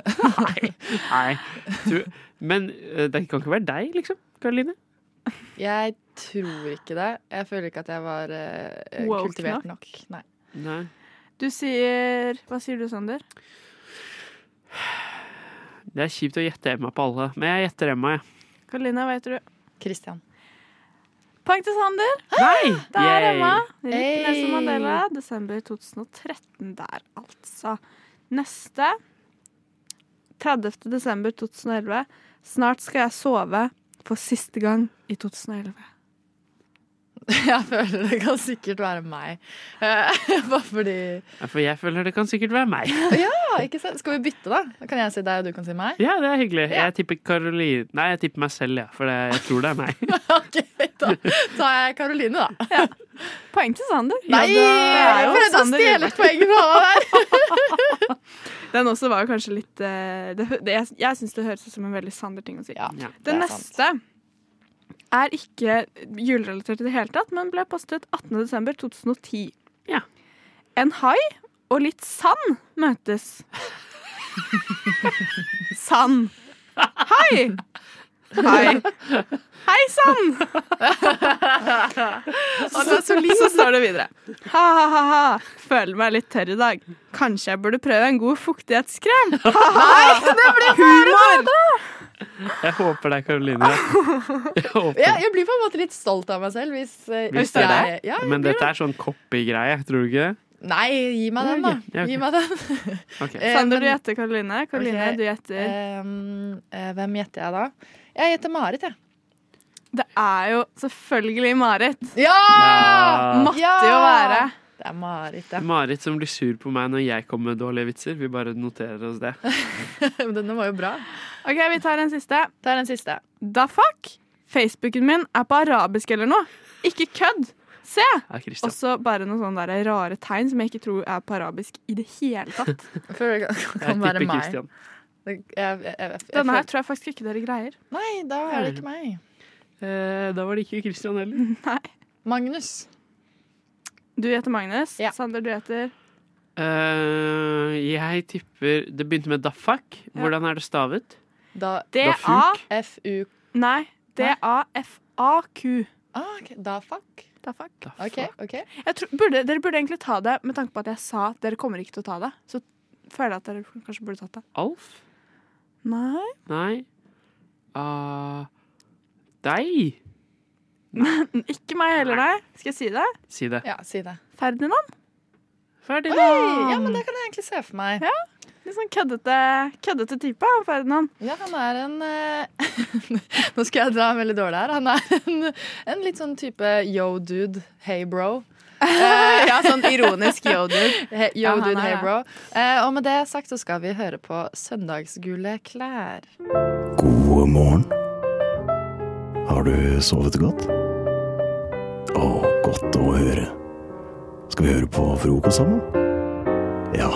[SPEAKER 1] eh, Nei. Du, men øh, det kan ikke være deg, liksom, Karoline?
[SPEAKER 14] Jeg tror ikke det. Jeg føler ikke at jeg var eh,
[SPEAKER 15] Woke
[SPEAKER 14] kultivert
[SPEAKER 15] nok?
[SPEAKER 14] nok. Nei.
[SPEAKER 1] Nei.
[SPEAKER 15] Du sier Hva sier du, Sander?
[SPEAKER 1] Det er kjipt å gjette Emma på alle, men jeg gjetter Emma, jeg.
[SPEAKER 15] Karolina, hva heter du?
[SPEAKER 14] Christian.
[SPEAKER 15] Poeng til Sander.
[SPEAKER 1] Nei!
[SPEAKER 15] Det er
[SPEAKER 1] Yay.
[SPEAKER 15] Emma. Rik
[SPEAKER 14] Hey.
[SPEAKER 15] Nelson Mandela, desember 2013 der, altså. Neste 30. desember 2011. Snart skal jeg sove for siste gang i 2011.
[SPEAKER 14] Jeg føler det kan sikkert være meg. Eh, Bare fordi
[SPEAKER 1] Nei, For jeg føler det kan sikkert være meg.
[SPEAKER 14] Ja, ikke sant? Skal vi bytte, da? Da Kan jeg si deg, og du kan si meg?
[SPEAKER 1] Ja, det er hyggelig. Jeg tipper Karoline Nei, jeg tipper meg selv, ja, for det, jeg tror det er meg.
[SPEAKER 14] Så er jeg Karoline, da.
[SPEAKER 15] Poeng til Sander.
[SPEAKER 14] Nei! jeg prøvde å stjele et poeng fra deg!
[SPEAKER 15] Den også var jo kanskje litt eh, det, det, Jeg, jeg syns det høres ut som en veldig Sander-ting å si.
[SPEAKER 14] det er
[SPEAKER 15] Den neste er ikke julerelatert i det hele tatt, men ble postet 18.12.2010.
[SPEAKER 1] Ja.
[SPEAKER 15] En hai og litt sand møtes. sand. Hai! Hai. Hei sann!
[SPEAKER 14] Og så solid.
[SPEAKER 15] så står det videre. Ha-ha-ha. Føler meg litt tørr i dag. Kanskje jeg burde prøve en god fuktighetskrem? Ha-ha.
[SPEAKER 14] det blir
[SPEAKER 15] Humor!
[SPEAKER 1] Jeg håper det er Karoline. Jeg håper.
[SPEAKER 14] Ja, jeg blir på en måte litt stolt av meg selv hvis, eh,
[SPEAKER 1] Hvis det er
[SPEAKER 14] jeg- Ja,
[SPEAKER 1] det.
[SPEAKER 14] jeg
[SPEAKER 1] Men
[SPEAKER 14] blir
[SPEAKER 1] dette er sånn copy-greie, tror du ikke det?
[SPEAKER 14] det. Nei, gi meg den, da.
[SPEAKER 1] Ja, ok.
[SPEAKER 14] Gi meg den.
[SPEAKER 1] Ok.
[SPEAKER 14] Eh,
[SPEAKER 15] Sander,
[SPEAKER 14] men-
[SPEAKER 15] du gjetter Karoline. Karoline,
[SPEAKER 14] Ok,
[SPEAKER 15] du gjetter.
[SPEAKER 14] ehm, eh, hvem gjetter jeg da? Jeg gjetter Marit, jeg.
[SPEAKER 15] Det er jo selvfølgelig Marit.
[SPEAKER 1] Ja!
[SPEAKER 15] Måtte
[SPEAKER 14] Ja!
[SPEAKER 15] jo være.
[SPEAKER 14] Det er Marit, ja.
[SPEAKER 1] Marit som blir sur på meg når jeg kommer med dårlige vitser. Vi bare noterer oss det.
[SPEAKER 14] Men Denne var jo bra.
[SPEAKER 15] OK, vi tar en siste.
[SPEAKER 14] Tar en siste.
[SPEAKER 15] Da fuck! Facebooken min er på arabisk eller noe. Ikke kødd! Se!
[SPEAKER 1] Christian.
[SPEAKER 15] Og så bare noen sånne der rare tegn som jeg ikke tror er på arabisk i det hele tatt.
[SPEAKER 14] Jeg føler det kan- kan
[SPEAKER 1] Jeg
[SPEAKER 14] være
[SPEAKER 1] tipper
[SPEAKER 14] meg.
[SPEAKER 1] Christian.
[SPEAKER 14] Det- jeg- jeg- jeg- jeg
[SPEAKER 15] Denne her
[SPEAKER 14] føler-
[SPEAKER 15] tror jeg faktisk ikke dere greier.
[SPEAKER 14] Nei, da er det ikke meg.
[SPEAKER 1] Eh, da var det ikke Christian heller.
[SPEAKER 14] Magnus.
[SPEAKER 15] Du heter Magnus. Sander, du heter
[SPEAKER 1] Eh, jeg tipper Det begynte med Dafak. Hvordan er det stavet?
[SPEAKER 14] Da,
[SPEAKER 1] Dafuk?
[SPEAKER 14] D-a-f-u
[SPEAKER 15] Nei. D-a-f-a-q.
[SPEAKER 14] Ah, ok. Da fuck.
[SPEAKER 15] Da fuck.
[SPEAKER 14] OK. ok
[SPEAKER 15] Jeg tror, burde, dere burde egentlig ta det med tanke på at jeg sa at dere kommer ikke til å ta det. Så føler jeg at dere kanskje burde tatt det.
[SPEAKER 1] Alf?
[SPEAKER 15] Nei.
[SPEAKER 1] Nei. Ah, deg?
[SPEAKER 15] Ikke meg heller, nei. Skal jeg si det?
[SPEAKER 1] Si det.
[SPEAKER 14] Ja, si det.
[SPEAKER 15] Ferdinand.
[SPEAKER 1] Ferdinand.
[SPEAKER 14] Oi, ja, men det kan jeg egentlig se for meg.
[SPEAKER 15] Ja, Litt sånn køddete, køddete type, han Ferdinand.
[SPEAKER 14] Ja, han er en eh, Nå skal jeg dra en veldig dårlig her. Han er en, en litt sånn type yo dude, hey bro. Eh,
[SPEAKER 15] Ja, sånn ironisk yo dude.
[SPEAKER 14] He, yo
[SPEAKER 15] Ja, han
[SPEAKER 14] dude,
[SPEAKER 15] er
[SPEAKER 14] hey
[SPEAKER 15] det.
[SPEAKER 14] bro. Eh, og med det sagt så skal vi høre på Søndagsgule klær.
[SPEAKER 17] God morgen. Har du sovet godt? Å, godt å høre. Skal vi høre på frokost sammen? Ja,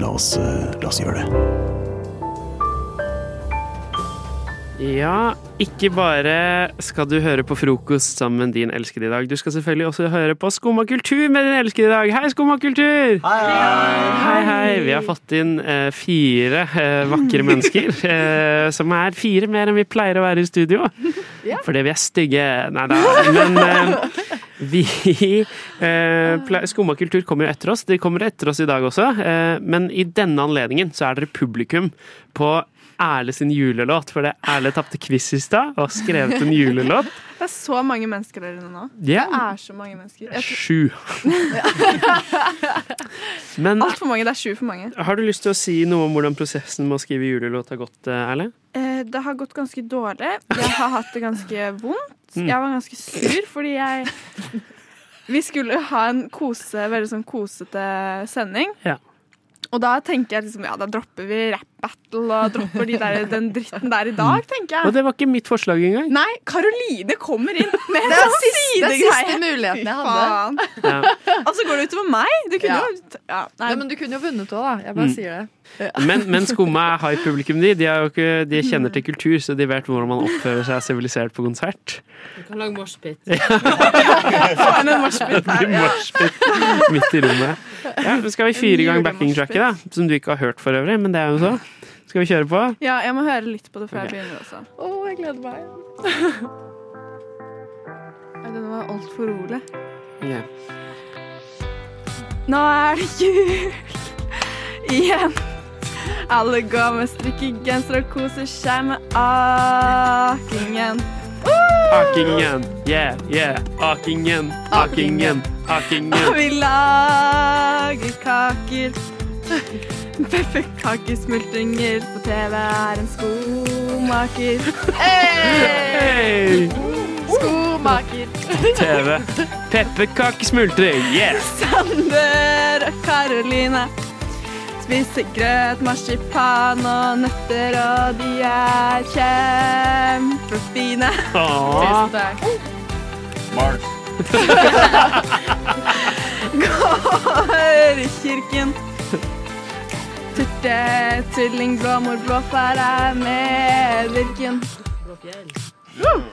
[SPEAKER 17] la oss, eh, la oss gjøre det.
[SPEAKER 1] Ja, ikke bare skal du høre på frokost sammen med din elskede i dag, du skal selvfølgelig også høre på Skumma kultur med din elskede i dag. Hei, Skumma kultur! Hei, hei! Vi har fått inn eh, fire eh, vakre mennesker, eh, som er fire mer enn vi pleier å være i studio. Fordi vi er stygge. Nei da, men eh, vi eh, ple- Skumma kultur kommer jo etter oss. De kommer etter oss i dag også. Eh, men i denne anledningen så er dere publikum på Erle sin julelåt, for det Erle tapte quiz i stad og har skrevet en julelåt.
[SPEAKER 15] Det er så mange mennesker der inne nå.
[SPEAKER 1] Ja.
[SPEAKER 15] Det er så mange mennesker. Jeg tror-
[SPEAKER 1] Sju. Men
[SPEAKER 15] Alt for mange. Det er sju for mange.
[SPEAKER 1] har du lyst til å si noe om hvordan prosessen med å skrive julelåt har gått, eh, Erle?
[SPEAKER 15] Eh, Det har gått ganske dårlig. Jeg har hatt det ganske vondt.
[SPEAKER 1] Mm.
[SPEAKER 15] Jeg var ganske sur fordi jeg Vi skulle ha en kose, veldig sånn kosete sending.
[SPEAKER 1] Ja.
[SPEAKER 15] Og da tenker jeg liksom, ja, da dropper vi rap-battle og dropper de der, den dritten der i dag, tenker jeg.
[SPEAKER 1] Og det var ikke mitt forslag engang.
[SPEAKER 15] Nei, Karoline kommer inn med
[SPEAKER 14] Det er
[SPEAKER 15] sånn
[SPEAKER 14] siste- det er
[SPEAKER 15] sidegreie.
[SPEAKER 14] siste muligheten jeg
[SPEAKER 15] Fy
[SPEAKER 14] hadde.
[SPEAKER 15] faen.
[SPEAKER 1] Ja.
[SPEAKER 15] Og så går det utover meg. Du kunne
[SPEAKER 14] Ja.
[SPEAKER 15] jo ja, nei.
[SPEAKER 14] Nei, men du kunne jo vunnet òg, da. Jeg bare
[SPEAKER 1] Mm.
[SPEAKER 14] sier det.
[SPEAKER 1] Men, men skumma er high publikum, de. De, er jo ikke, de kjenner til kultur, så de vet hvordan man oppfører seg sivilisert på konsert.
[SPEAKER 18] Du kan lage moshpit.
[SPEAKER 15] Få inn en moshpit
[SPEAKER 1] Det
[SPEAKER 15] her.
[SPEAKER 1] blir
[SPEAKER 15] Ja.
[SPEAKER 1] moshpit midt i rommet. Ja, så skal vi fyre i gang backing-tracket, da? Som du ikke har hørt for øvrig, men det er jo så. Skal vi kjøre på?
[SPEAKER 15] ja, jeg må høre litt på det før
[SPEAKER 1] Ok.
[SPEAKER 15] jeg begynner også.
[SPEAKER 14] Å, jeg gleder meg.
[SPEAKER 15] Den var altfor rolig.
[SPEAKER 1] Ja.
[SPEAKER 15] Nå er det jul igjen. Alle går med strikkegensere og koser seg med akingen.
[SPEAKER 1] Akingen, yeah, yeah. Akingen, akingen, akingen.
[SPEAKER 15] Og vi lager kaker. Pepperkakesmultringer på TV er en skomaker.
[SPEAKER 1] Hey!
[SPEAKER 15] Skomaker.
[SPEAKER 1] TV. Pepperkakesmultring, yeah.
[SPEAKER 15] Sander og Karoline spiser grøt, marsipan og nøtter, og de er kjempefine.
[SPEAKER 1] Åh.
[SPEAKER 15] Tusen takk.
[SPEAKER 1] Mark.
[SPEAKER 15] Går i kirken. Turte, tvilling, blåmor, blåfær er medvirken. Mm.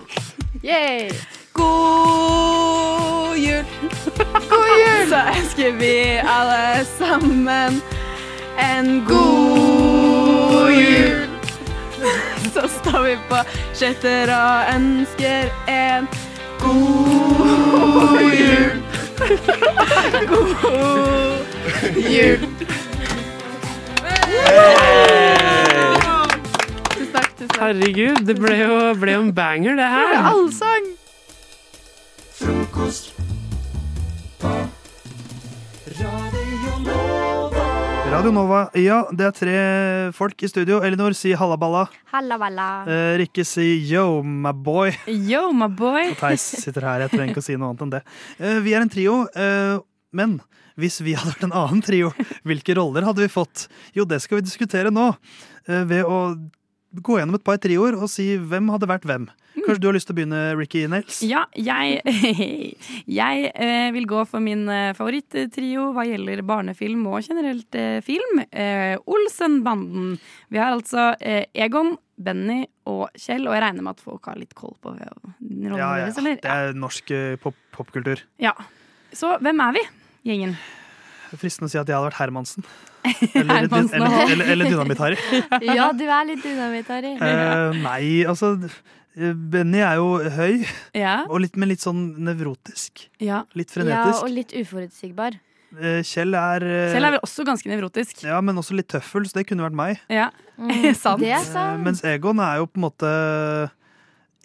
[SPEAKER 15] Yay! God jul! God jul! Så ønsker vi alle sammen en god jul. Så står vi på skøyter og ønsker en god jul. God jul.
[SPEAKER 1] Herregud, det ble jo, ble jo en banger, det her.
[SPEAKER 14] Allsang!
[SPEAKER 13] Frokost
[SPEAKER 18] Radio Nova, ja, det er tre folk i studio. Elinor sier hallaballa.
[SPEAKER 9] Halla, balla.
[SPEAKER 18] Eh, Rikke sier yo, my boy.
[SPEAKER 9] Yo, my boy.
[SPEAKER 18] Og Theis sitter her. Jeg trenger ikke å si noe annet enn det. Eh, vi er en trio, eh, men hvis vi hadde vært en annen trio, hvilke roller hadde vi fått? Jo, det skal vi diskutere nå. eh, ved å gå gjennom et par trioer og si hvem hadde vært hvem. Kanskje du har lyst til å begynne, Ricky Nails?
[SPEAKER 9] Mm. Ja, jeg, jeg eh, vil gå for min eh, favorittrio hva gjelder barnefilm og generelt eh, film. Eh, Olsenbanden. Vi har altså eh, Egon, Benny og Kjell, og jeg regner med at folk har litt koll på eh, rollene
[SPEAKER 18] Ja, ja,
[SPEAKER 9] deres,
[SPEAKER 18] ja.
[SPEAKER 9] eller?
[SPEAKER 18] Det er norsk eh, pop- popkultur.
[SPEAKER 9] Ja. Så hvem er vi, gjengen?
[SPEAKER 18] Fristende å si at jeg hadde vært Hermansen. Eller,
[SPEAKER 9] Hermansen og
[SPEAKER 18] eller,
[SPEAKER 9] Hall.
[SPEAKER 18] eller, eller Dynamitt-Harry.
[SPEAKER 9] Ja,
[SPEAKER 11] du er litt dynamitt, Harry.
[SPEAKER 18] Eh, nei, altså eh, Benny er jo høy,
[SPEAKER 9] Ja.
[SPEAKER 18] og litt, men litt sånn nevrotisk.
[SPEAKER 9] Ja.
[SPEAKER 18] Litt
[SPEAKER 11] Ja,
[SPEAKER 18] frenetisk.
[SPEAKER 11] og litt uforutsigbar.
[SPEAKER 18] Eh, Kjell er eh,
[SPEAKER 9] Kjell er vel også ganske nevrotisk.
[SPEAKER 18] Ja, men også litt tøffel, så det kunne vært meg.
[SPEAKER 9] Ja, sant.
[SPEAKER 11] Mm, Det er
[SPEAKER 18] Eh,
[SPEAKER 11] sant.
[SPEAKER 18] mens Egon er jo på en måte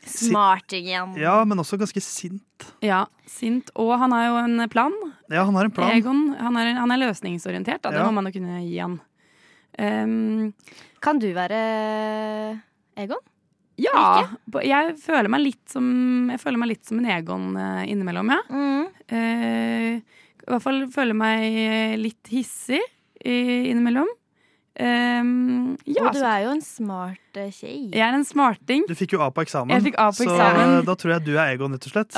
[SPEAKER 18] si-
[SPEAKER 11] Smartingen.
[SPEAKER 18] Ja, men også ganske sint.
[SPEAKER 9] Ja, sint. Og han har jo en plan.
[SPEAKER 18] Ja, han har en plan.
[SPEAKER 9] Egon, han er, han er løsningsorientert, da. Det
[SPEAKER 18] Ja.
[SPEAKER 9] må man jo kunne gi han. Um,
[SPEAKER 11] Kan du være Egon?
[SPEAKER 9] ja, på- jeg føler meg litt som, jeg føler meg litt som en Egon eh, innimellom, ja.
[SPEAKER 11] Mm.
[SPEAKER 9] Eh, I hvert fall føler jeg meg eh, litt hissig eh, innimellom. Um, ja,
[SPEAKER 11] og du er jo en smart eh,
[SPEAKER 9] så-
[SPEAKER 11] kjei.
[SPEAKER 9] jeg er en smarting.
[SPEAKER 18] Du fikk jo A på eksamen,
[SPEAKER 9] Jeg fikk A på
[SPEAKER 18] så
[SPEAKER 9] eksamen.
[SPEAKER 18] eh, da tror jeg du er Egon, rett og slett.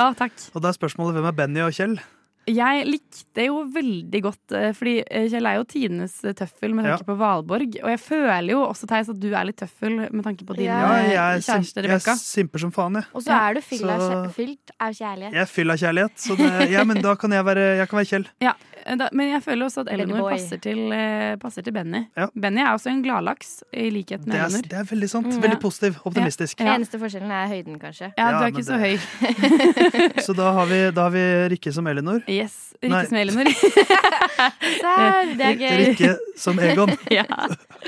[SPEAKER 18] Og da er spørsmålet hvem er Benny og Kjell?
[SPEAKER 9] Jeg likte jo veldig godt eh, Fordi eh, Kjell er jo tidenes eh, tøffel med tanke
[SPEAKER 18] Ja.
[SPEAKER 9] på Valborg. Og jeg føler jo også, Theis, at du er litt tøffel med tanke på din
[SPEAKER 18] Ja,
[SPEAKER 9] eh,
[SPEAKER 18] jeg, er sim-
[SPEAKER 9] kjæreste
[SPEAKER 18] jeg
[SPEAKER 9] Rebekka.
[SPEAKER 18] simper som faen, jeg.
[SPEAKER 11] Og så er du fylt av
[SPEAKER 18] Så-
[SPEAKER 11] kjær- fylt av kjærlighet.
[SPEAKER 18] Jeg er fyll av kjærlighet, så det, ja, men da kan jeg være, jeg kan være Kjell.
[SPEAKER 9] Ja, eh, da, men jeg føler også at
[SPEAKER 11] Benny
[SPEAKER 9] Eleanor
[SPEAKER 11] boy.
[SPEAKER 9] passer til, eh, passer til Benny.
[SPEAKER 18] Ja.
[SPEAKER 9] Benny er også en gladlaks, i likhet med
[SPEAKER 18] Det er,
[SPEAKER 9] Eleanor.
[SPEAKER 18] det er veldig sant.
[SPEAKER 9] Mm. Ja.
[SPEAKER 18] Veldig positiv. Optimistisk.
[SPEAKER 11] Eneste forskjellen er høyden, kanskje.
[SPEAKER 9] Ja, du
[SPEAKER 18] Ja,
[SPEAKER 9] er ikke
[SPEAKER 18] men
[SPEAKER 9] så høy.
[SPEAKER 18] Så da har vi, da har vi Rikke som Elinor.
[SPEAKER 9] Yes,
[SPEAKER 18] Nei.
[SPEAKER 9] Rikke som Eleanor.
[SPEAKER 11] Der, det er gøy.
[SPEAKER 18] Rikke som Egon.
[SPEAKER 9] ja.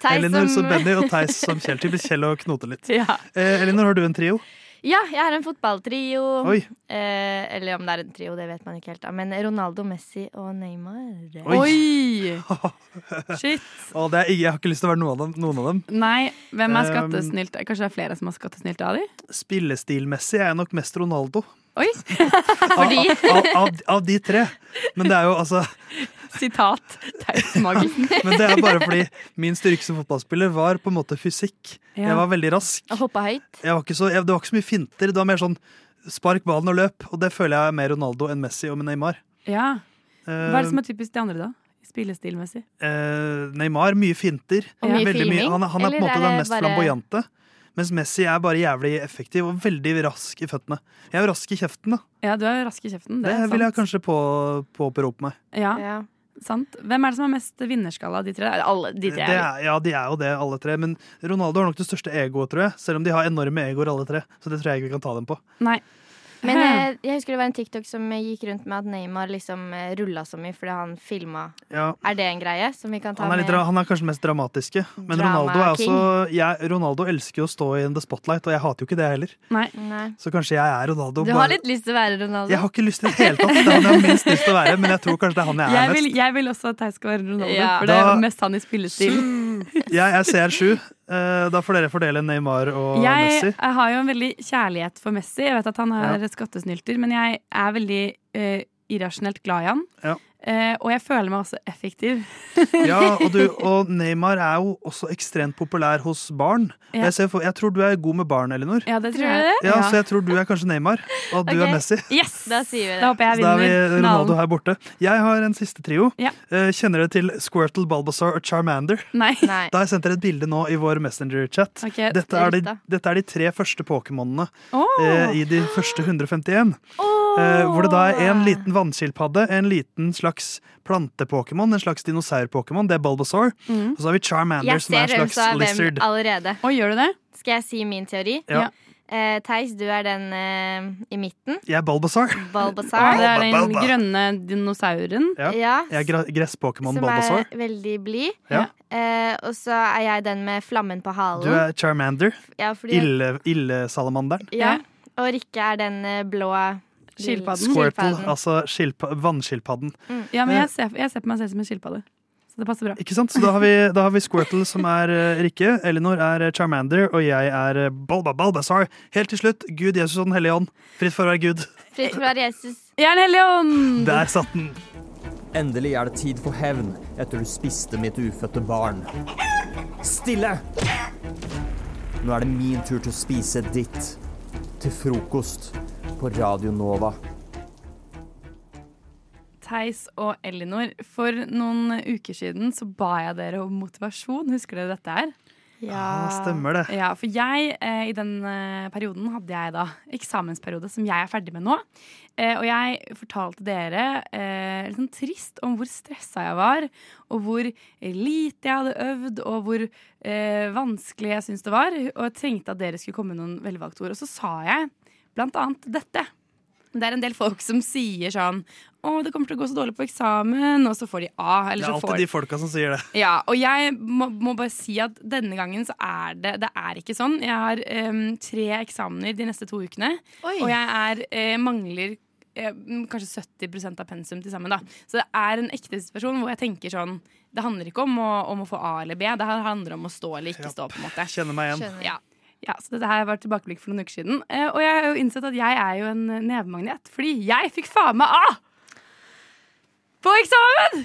[SPEAKER 11] Theis
[SPEAKER 18] Elinor som
[SPEAKER 11] som-
[SPEAKER 18] Benny og Theis som Kjell. Typisk Kjell å knote litt.
[SPEAKER 9] Ja.
[SPEAKER 18] Eh, Elinor, har du en trio?
[SPEAKER 11] Ja, jeg er en fotballtrio.
[SPEAKER 18] Oi.
[SPEAKER 11] Eh, eller om det er en trio, det vet man ikke helt. da. Men Ronaldo, Messi og Neymar.
[SPEAKER 9] Shit.
[SPEAKER 18] Å, det er, jeg har ikke lyst til å være noen av dem. Noen av dem.
[SPEAKER 9] Nei, hvem er
[SPEAKER 18] Um,
[SPEAKER 9] skattesnylt? Kanskje det er flere som er skattesnylt av de?
[SPEAKER 18] Spillestilmessig er jeg nok mest Ronaldo.
[SPEAKER 9] Oi!
[SPEAKER 18] Av, av, av, av de tre. Men det er jo altså
[SPEAKER 9] Sitat Theis Magelsen.
[SPEAKER 18] Men det er bare fordi min styrke som fotballspiller var på en måte fysikk.
[SPEAKER 9] Ja.
[SPEAKER 18] Jeg var veldig rask.
[SPEAKER 11] Hoppa høyt.
[SPEAKER 18] Jeg var ikke så, jeg, det var ikke så mye finter. Det var mer sånn spark ballen og løp. Og det føler jeg er mer Ronaldo enn Messi og Neymar.
[SPEAKER 9] Ja.
[SPEAKER 18] Eh,
[SPEAKER 9] Hva er det som er typisk de andre, da? Spillestilmessig.
[SPEAKER 18] eh, Neymar, mye finter.
[SPEAKER 9] Og mye
[SPEAKER 18] Veldig
[SPEAKER 9] filming,
[SPEAKER 18] han, er- han er på en
[SPEAKER 9] eller
[SPEAKER 18] måte
[SPEAKER 9] er
[SPEAKER 18] den
[SPEAKER 9] det
[SPEAKER 18] mest
[SPEAKER 9] bare-
[SPEAKER 18] flamboyante. Mens Messi er bare jævlig effektiv og veldig rask i føttene. Jeg er rask i kjeften, da.
[SPEAKER 9] Ja, du er rask i kjeften.
[SPEAKER 18] Det,
[SPEAKER 9] Mm, Det, er
[SPEAKER 18] vil jeg
[SPEAKER 9] sant.
[SPEAKER 18] kanskje på- påberope meg.
[SPEAKER 9] Ja. sant. Hvem er det som har mest vinnerskalle av de tre? Alle de
[SPEAKER 18] Det
[SPEAKER 9] tre.
[SPEAKER 18] er, ja, de er jo det, alle tre. Men Ronaldo har nok det største egoet, tror jeg. Selv om de har enorme egoer, alle tre. Så det tror jeg ikke vi kan ta dem på.
[SPEAKER 9] Nei.
[SPEAKER 11] Men eh, jeg husker det var en TikTok som eh, gikk rundt med at Neymar liksom eh, rulla så mye fordi han filma.
[SPEAKER 18] Ja.
[SPEAKER 11] Er det en greie som vi kan ta
[SPEAKER 18] Han er, litt,
[SPEAKER 11] med?
[SPEAKER 18] dra- han er kanskje mest dramatiske. Men
[SPEAKER 11] Drama
[SPEAKER 18] Ronaldo er også
[SPEAKER 11] king.
[SPEAKER 18] jeg, Ronaldo elsker jo å stå i the spotlight, og jeg hater jo ikke det heller.
[SPEAKER 11] Nei.
[SPEAKER 18] Så kanskje jeg er Ronaldo.
[SPEAKER 11] Du har
[SPEAKER 18] bare-
[SPEAKER 11] litt lyst til å være Ronaldo?
[SPEAKER 18] Jeg har ikke lyst til det i det hele tatt. Det er han jeg har minst lyst til å være, men jeg tror kanskje det er han jeg er
[SPEAKER 9] Jeg vil,
[SPEAKER 18] mest.
[SPEAKER 9] jeg vil også at jeg skal være Ronaldo,
[SPEAKER 18] Ja.
[SPEAKER 9] for det er
[SPEAKER 18] Da-
[SPEAKER 9] mest han i
[SPEAKER 11] Mm.
[SPEAKER 9] spillestil.
[SPEAKER 18] Jeg er CR7. Eh, Da får dere fordele Neymar og
[SPEAKER 9] Jeg
[SPEAKER 18] Messi.
[SPEAKER 9] har jo en veldig kjærlighet for Messi. Jeg vet at han er
[SPEAKER 18] Ja.
[SPEAKER 9] skattesnylter, men jeg er veldig eh, irrasjonelt glad i han.
[SPEAKER 18] Ja.
[SPEAKER 9] Eh, og jeg føler meg også effektiv.
[SPEAKER 18] Ja, og, du, og Neymar er jo også ekstremt populær hos barn.
[SPEAKER 9] Ja.
[SPEAKER 18] Jeg, ser for, jeg tror du er god med barn, Elinor.
[SPEAKER 9] Ja, det tror
[SPEAKER 11] Tror du
[SPEAKER 9] jeg.
[SPEAKER 18] Ja, så jeg tror du er kanskje Neymar, og at du
[SPEAKER 9] Ok.
[SPEAKER 18] er Messi.
[SPEAKER 9] Yes!
[SPEAKER 11] Da sier vi det.
[SPEAKER 9] Da håper jeg
[SPEAKER 18] Så da er
[SPEAKER 9] vinner
[SPEAKER 18] vi Ronaldo
[SPEAKER 9] finalen.
[SPEAKER 18] her borte. Jeg har en siste trio.
[SPEAKER 9] Ja.
[SPEAKER 18] Eh, Kjenner dere til Squirtle, Balbazar og Charmander?
[SPEAKER 9] Nei. Nei.
[SPEAKER 18] Da har jeg sendt dere et bilde nå i vår Messenger-chat.
[SPEAKER 9] Ok,
[SPEAKER 18] dette, er de,
[SPEAKER 9] riktig.
[SPEAKER 18] dette er de tre første Pokémonene
[SPEAKER 9] Åh!
[SPEAKER 18] eh, i de første 151. Eh, hvor det da er en liten vannskilpadde, en liten slags plantepokémon, en slags dinosaur-pokémon, det er Bulbasaur.
[SPEAKER 11] Mm.
[SPEAKER 18] Og så har vi Charmander,
[SPEAKER 11] Jeg
[SPEAKER 18] som er
[SPEAKER 11] ser
[SPEAKER 18] en
[SPEAKER 11] hvem
[SPEAKER 18] slags
[SPEAKER 11] som er hvem
[SPEAKER 18] lizard.
[SPEAKER 11] allerede. Skal jeg si min teori?
[SPEAKER 18] Ja. Ja.
[SPEAKER 11] Eh, Theis, du er den eh, i midten.
[SPEAKER 18] Jeg er Bulbasaur.
[SPEAKER 11] Balbazar.
[SPEAKER 9] Det er den
[SPEAKER 18] Balba.
[SPEAKER 9] grønne dinosauren.
[SPEAKER 18] Ja.
[SPEAKER 11] Ja.
[SPEAKER 18] Jeg er gra- gresspokémon
[SPEAKER 11] Som
[SPEAKER 18] Bulbasaur.
[SPEAKER 11] er veldig blid.
[SPEAKER 18] Ja.
[SPEAKER 11] Eh, og så er jeg den med flammen på halen.
[SPEAKER 18] Du er Charmander.
[SPEAKER 11] Ja, fordi-
[SPEAKER 18] Ille- Illesalamanderen.
[SPEAKER 11] ja. Og Rikke er den eh, blå
[SPEAKER 9] Skilpadden.
[SPEAKER 18] Squirtle, altså skilpa vannskilpadden.
[SPEAKER 9] Ja, men jeg ser, jeg ser på meg selv som en skilpadde. Så det passer bra.
[SPEAKER 18] Ikke sant? Så da har vi, da har vi Squirtle som er eh, Rikke, Elinor er eh, Charmander, og jeg er eh, Balba Balbasar. Helt til slutt, Gud, Jesus og Den hellige ånd. Fritt for å være Gud.
[SPEAKER 11] Fritt fra Jesus.
[SPEAKER 9] Jern Helion!
[SPEAKER 18] Der satt den.
[SPEAKER 19] Endelig er det tid for hevn etter du spiste mitt ufødte barn. Stille! Nå er det min tur til å spise ditt. Til frokost på Radio Nova.
[SPEAKER 9] Theis og Elinor, for noen uker siden så ba jeg dere om motivasjon. Husker dere dette her?
[SPEAKER 18] Ja, Ah, stemmer det.
[SPEAKER 9] Ja, for jeg, eh, i den eh, perioden hadde jeg da eksamensperiode som jeg er ferdig med nå. Eh, og jeg fortalte dere eh, litt sånn trist om hvor stressa jeg var, og hvor lite jeg hadde øvd, og hvor eh, vanskelig jeg syntes det var. Og jeg trengte at dere skulle komme med noen velvalgte ord. Og så sa jeg blant annet dette. Det er en del folk som sier sånn Å, det kommer til å gå så dårlig på eksamen, og så får de A.
[SPEAKER 18] Det
[SPEAKER 9] Eller
[SPEAKER 18] er
[SPEAKER 9] så får
[SPEAKER 18] alltid de folka som sier det.
[SPEAKER 9] ja, og jeg må, må bare si at denne gangen så er det Det er ikke sånn. Jeg har em, tre eksamener de neste to ukene.
[SPEAKER 11] Oi.
[SPEAKER 9] Og jeg er, eh, mangler eh, kanskje 70 av pensum til sammen. da Så det er en ekte situasjon hvor jeg tenker sånn Det handler ikke om å, om å få A eller B, det her handler om å stå eller ikke stå. på en måte
[SPEAKER 18] Kjenner meg igjen.
[SPEAKER 9] Ja. Ja, så dette her var tilbakeblikk for noen uker siden. Eh, og jeg har jo innsett at jeg er jo en nevemagnet, fordi jeg fikk faen meg A! På eksamen!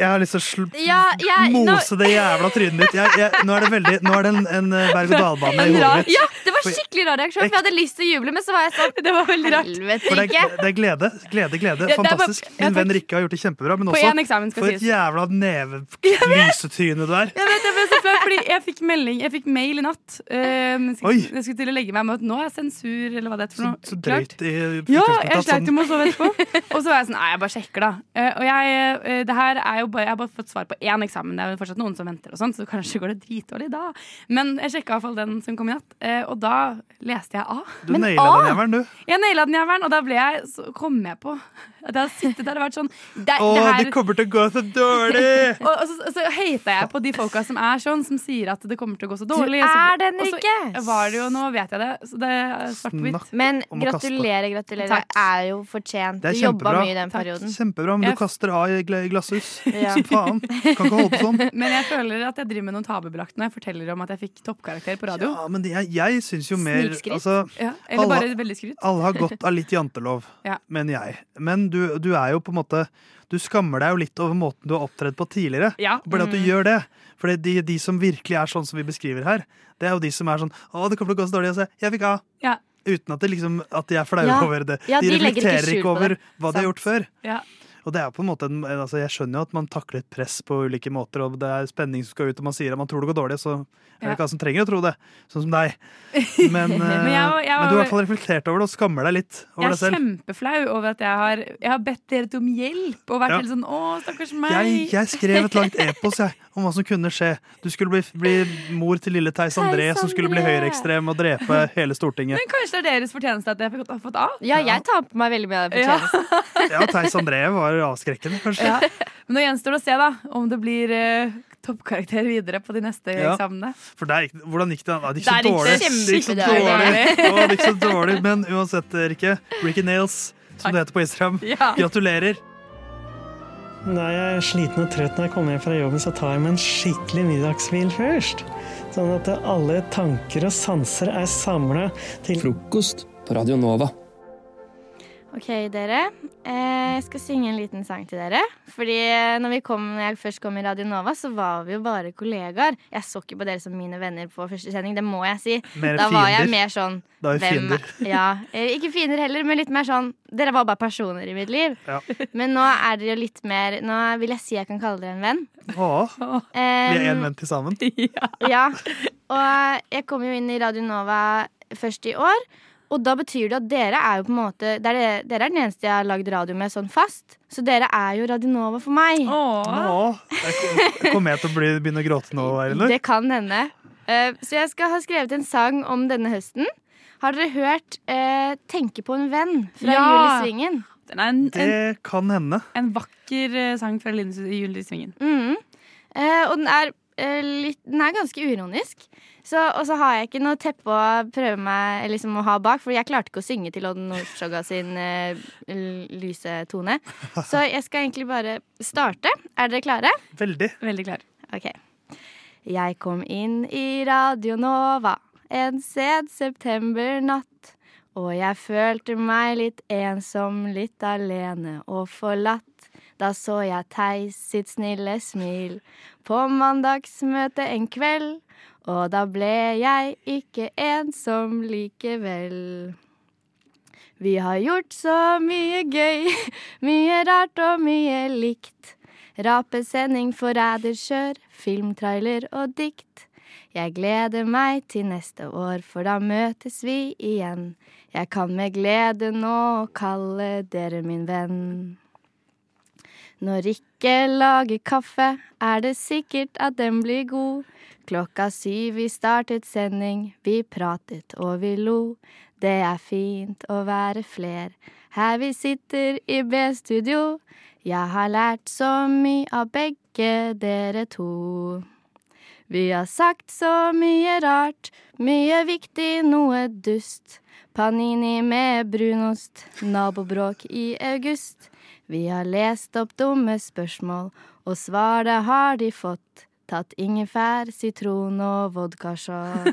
[SPEAKER 18] Jeg har lyst til å sl
[SPEAKER 9] Ja, jeg- nå-
[SPEAKER 18] mose det jævla trynet ditt. Jeg, jeg, nå, er det veldig, nå er det en, en eh, berg-og-dal-bane i
[SPEAKER 11] En
[SPEAKER 18] hodet
[SPEAKER 11] rar-
[SPEAKER 18] mitt.
[SPEAKER 11] Ja, det var
[SPEAKER 18] For-
[SPEAKER 11] skikkelig rar reaksjon, for jeg hadde lyst til å juble, men så var jeg sånn
[SPEAKER 9] Det var veldig
[SPEAKER 11] rart. Helvete,
[SPEAKER 18] For det
[SPEAKER 11] Rikke.
[SPEAKER 18] er, det er glede. Glede, glede.
[SPEAKER 9] Ja, det er bare-
[SPEAKER 18] Fantastisk.
[SPEAKER 9] ja,
[SPEAKER 18] Min
[SPEAKER 9] takk.
[SPEAKER 18] venn Rikke har gjort det kjempebra, men
[SPEAKER 9] På
[SPEAKER 18] også
[SPEAKER 9] en eksamen skal
[SPEAKER 18] for et
[SPEAKER 9] sies.
[SPEAKER 18] jævla nevelysetryne du er.
[SPEAKER 9] Jeg vet, jeg ble så flau, fordi jeg fikk melding Jeg fikk mail i natt. Um, jeg,
[SPEAKER 18] Oi.
[SPEAKER 9] skulle, jeg skulle til å legge meg med at nå er sensur, eller hva det er for noe.
[SPEAKER 18] Så
[SPEAKER 9] Klart.
[SPEAKER 18] drøyt i
[SPEAKER 9] Ja,
[SPEAKER 18] utgangspunktet
[SPEAKER 9] jeg
[SPEAKER 18] at
[SPEAKER 9] sleit jo
[SPEAKER 18] sånn-
[SPEAKER 9] med å sove etterpå. Og så var jeg sånn Nei, jeg bare sjekker, da. Eh, og jeg, eh, det her er jo bare, jeg har bare fått svar på én eksamen. Det er vel fortsatt noen som venter, og sånn, så kanskje går det dritdårlig da. Men jeg sjekka iallfall den som kom i natt, eh, og da leste jeg A.
[SPEAKER 18] Du naila den jævelen, du.
[SPEAKER 9] Jeg naila den jævelen, og da ble jeg, så kom jeg på at jeg har sittet der og vært sånn det,
[SPEAKER 18] Å,
[SPEAKER 9] det her,
[SPEAKER 18] det kommer til å gå så dårlig!
[SPEAKER 9] og, og så, og så hater jeg på de folka som er sånn, som sier at det kommer til å gå så
[SPEAKER 11] Du
[SPEAKER 9] dårlig.
[SPEAKER 11] er den
[SPEAKER 9] og så
[SPEAKER 11] Rikke!
[SPEAKER 9] var det jo, nå vet jeg det. Så det er svart på hvitt.
[SPEAKER 11] Men
[SPEAKER 18] om å kaste.
[SPEAKER 11] gratulerer, gratulerer.
[SPEAKER 9] Takk.
[SPEAKER 11] Det er jo fortjent.
[SPEAKER 18] Det er
[SPEAKER 11] Du jobba
[SPEAKER 18] kjempebra.
[SPEAKER 11] mye i den perioden.
[SPEAKER 18] Kjempebra, men
[SPEAKER 9] Jeg-
[SPEAKER 18] du kaster av i gla- glasshus.
[SPEAKER 11] Ja.
[SPEAKER 18] Som faen. Kan ikke holde på sånn.
[SPEAKER 9] Men jeg føler at jeg driver med noen tabubelagt når jeg forteller om at jeg fikk toppkarakter på radio.
[SPEAKER 18] Ja, men jeg, jeg syns jo mer
[SPEAKER 9] Snikskryt.
[SPEAKER 18] altså,
[SPEAKER 9] Ja, eller bare veldig skryt.
[SPEAKER 18] alle har godt av litt jantelov,
[SPEAKER 9] Ja.
[SPEAKER 18] mener jeg. Men du, du er jo på en måte Du skammer deg jo litt over måten du har opptredd på tidligere.
[SPEAKER 9] Ja.
[SPEAKER 18] Bare at du
[SPEAKER 9] Mm.
[SPEAKER 18] gjør det. For de, de som virkelig er sånn som vi beskriver her, det er jo de som er sånn Å, det kommer til å gå så dårlig. Og så jeg fikk A.
[SPEAKER 9] Ja.
[SPEAKER 18] Uten at, det liksom, at de er flaue
[SPEAKER 9] Ja.
[SPEAKER 18] over det.
[SPEAKER 9] Ja,
[SPEAKER 18] de
[SPEAKER 9] de legger ikke
[SPEAKER 18] reflekterer ikke,
[SPEAKER 9] skjul på
[SPEAKER 18] over
[SPEAKER 9] det.
[SPEAKER 18] hva de har gjort før.
[SPEAKER 9] Ja.
[SPEAKER 18] Og det er jo på en måte en, altså Jeg skjønner jo at man takler et press på ulike måter, og det er spenning som skal ut, og man sier at man tror det går dårlig, så er det
[SPEAKER 9] Ja.
[SPEAKER 18] ikke alle som trenger å tro det. Sånn som deg. Men, eh,
[SPEAKER 9] Men jeg var- jeg
[SPEAKER 18] men du har i
[SPEAKER 9] var-
[SPEAKER 18] hvert fall reflektert over det og skammer deg litt over
[SPEAKER 9] Jeg er
[SPEAKER 18] deg selv.
[SPEAKER 9] kjempeflau over at jeg har, jeg har bedt dere om hjelp og vært
[SPEAKER 18] Ja.
[SPEAKER 9] helt sånn 'Å, stakkars meg'.
[SPEAKER 18] Jeg, jeg skrev et langt epos jeg, om hva som kunne skje. Du skulle bli, bli mor til lille Theis André,
[SPEAKER 5] Theis
[SPEAKER 18] som skulle bli
[SPEAKER 5] André.
[SPEAKER 18] høyreekstrem og drepe hele Stortinget.
[SPEAKER 5] Men kanskje det er deres fortjeneste at jeg fikk- har fått A?
[SPEAKER 11] Ja, jeg tar på meg veldig mye av det fortjenesten.
[SPEAKER 18] Ja, Theis André var avskrekkende, kanskje.
[SPEAKER 5] Ja. Men nå gjenstår det å se da om det blir eh, toppkarakter videre på de neste
[SPEAKER 18] Ja.
[SPEAKER 5] eksamene.
[SPEAKER 18] For der, gikk- hvordan gikk det? Ja, Det gikk så
[SPEAKER 5] Der gikk
[SPEAKER 18] dårlig.
[SPEAKER 5] det
[SPEAKER 18] Det gikk så
[SPEAKER 5] kjempedårlig.
[SPEAKER 18] dårlig. Å, det gikk så dårlig. Men uansett, Rikke. Ricky Nails, som det heter på Instagram.
[SPEAKER 5] Ja.
[SPEAKER 18] Gratulerer.
[SPEAKER 20] Når jeg er sliten og trøtt når jeg kommer hjem fra jobben, så tar jeg meg en skikkelig middagshvil først. Sånn at alle tanker og sanser er samla til Frokost på Radio Nova.
[SPEAKER 11] Ok, dere. Eh, Jeg skal synge en liten sang til dere. Fordi eh, når, vi kom, når jeg først kom i Radio Nova, så var vi jo bare kollegaer. Jeg så ikke på dere som mine venner på første sending, det må jeg si.
[SPEAKER 5] Mer
[SPEAKER 11] da var jeg
[SPEAKER 5] fiender.
[SPEAKER 11] mer sånn
[SPEAKER 5] Da er vi
[SPEAKER 11] hvem-
[SPEAKER 5] fiender.
[SPEAKER 11] Ja, eh, Ikke fiender heller, men litt mer sånn Dere var bare personer i mitt liv.
[SPEAKER 18] Ja.
[SPEAKER 11] Men nå er dere jo litt mer Nå vil jeg si jeg kan kalle dere en venn.
[SPEAKER 18] Å, vi er
[SPEAKER 11] Eh,
[SPEAKER 18] én venn til sammen.
[SPEAKER 11] ja. Og jeg kom jo inn i Radio Nova først i år. Og da betyr det at dere er jo på en måte det er det, Dere er den eneste jeg har lagd radio med sånn fast. Så dere er jo Radio Nova for meg.
[SPEAKER 18] Åh. Kommer jeg til å bli, begynne å gråte nå, Einar?
[SPEAKER 11] Det kan hende. Eh, Så jeg skal ha skrevet en sang om denne høsten. Har dere hørt eh, 'Tenke på en venn' fra
[SPEAKER 5] Ja.
[SPEAKER 11] Jul i Svingen?
[SPEAKER 5] Den er en, en,
[SPEAKER 18] Det kan hende.
[SPEAKER 5] en vakker eh, sang fra Linus i Julesvingen.
[SPEAKER 11] Mhm. Eh, og den er, eh, litt, den er ganske uironisk. Så, og så har jeg ikke noe teppe å prøve meg eller liksom, å ha bak, for jeg klarte ikke å synge til Odd Nordstoga sin eh, l- lyse tone. Så jeg skal egentlig bare starte. Er dere klare?
[SPEAKER 18] Veldig.
[SPEAKER 5] Veldig klar.
[SPEAKER 11] Ok. Jeg kom inn i Radio Nova en sen septembernatt. Og jeg følte meg litt ensom, litt alene og forlatt. Da så jeg Theis sitt snille smil på mandagsmøtet en kveld. Og da ble jeg ikke ensom likevel. Vi har gjort så mye gøy, mye rart og mye likt. Rapesending, forræderkjør, filmtrailer og dikt. Jeg gleder meg til neste år, for da møtes vi igjen. Jeg kan med glede nå kalle dere min venn. Når Rikke lager kaffe, er det sikkert at den blir god. Klokka syv vi startet sending, vi pratet og vi lo. Det er fint å være fler, her vi sitter i B-studio. Jeg har lært så mye av begge dere to. Vi har sagt så mye rart, mye viktig, noe dust. Panini med brunost, nabobråk i august. Vi har lest opp dumme spørsmål, og svaret har de fått. Tatt ingefær, sitron og vodkashot.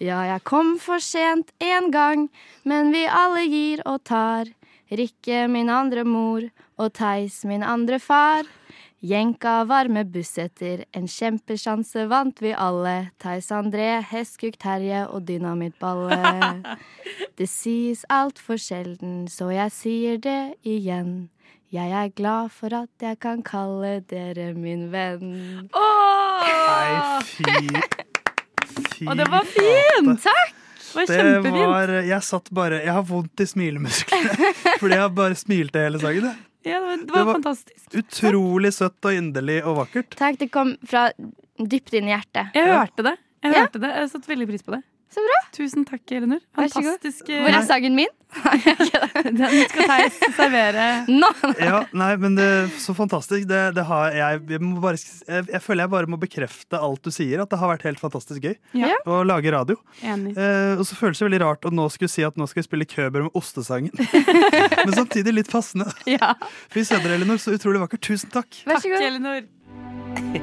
[SPEAKER 11] Ja, jeg kom for sent én gang, men vi alle gir og tar. Rikke min andre mor og Theis min andre far. Jenka varme bussetter, en kjempesjanse vant vi alle. Theis André, Heskuk Terje og Dynamittballe. Det sies altfor sjelden, så jeg sier det igjen. Jeg er glad for at jeg kan kalle dere min venn.
[SPEAKER 18] Nei, fy Fy
[SPEAKER 5] Og det var fint!
[SPEAKER 11] Takk!
[SPEAKER 5] Det var
[SPEAKER 18] Det
[SPEAKER 5] kjempefint.
[SPEAKER 18] var, jeg satt bare Jeg har vondt i smilemusklene fordi jeg bare smilte hele sangen. jeg.
[SPEAKER 5] Ja, det var, det
[SPEAKER 18] Det
[SPEAKER 5] var
[SPEAKER 18] var-
[SPEAKER 5] fantastisk.
[SPEAKER 18] Utrolig søtt og inderlig og vakkert.
[SPEAKER 11] Takk, det kom fra dypt inn i hjertet.
[SPEAKER 5] Jeg hørte det. Jeg hørte det. Jeg satte veldig pris på det.
[SPEAKER 11] Så bra.
[SPEAKER 5] Tusen takk, Elinor.
[SPEAKER 11] Vær så god.
[SPEAKER 5] Fantastisk. eh,
[SPEAKER 11] Hvor er sangen min?
[SPEAKER 5] Den skal Theis servere.
[SPEAKER 11] Nå!
[SPEAKER 18] Ja, nei, men det, Så fantastisk. Det, det har jeg, jeg, må bare, jeg, jeg føler jeg bare må bekrefte alt du sier, at det har vært helt fantastisk gøy
[SPEAKER 5] Ja.
[SPEAKER 18] å lage radio.
[SPEAKER 5] Enig.
[SPEAKER 18] Eh, og så føles det veldig rart å nå skulle si at nå skal vi spille Køber med Ostesangen. men samtidig litt passende.
[SPEAKER 5] Ja.
[SPEAKER 18] Fy søder, Elinor, så utrolig vakkert. Tusen takk.
[SPEAKER 11] Vær så god.
[SPEAKER 5] Takk, Elinor.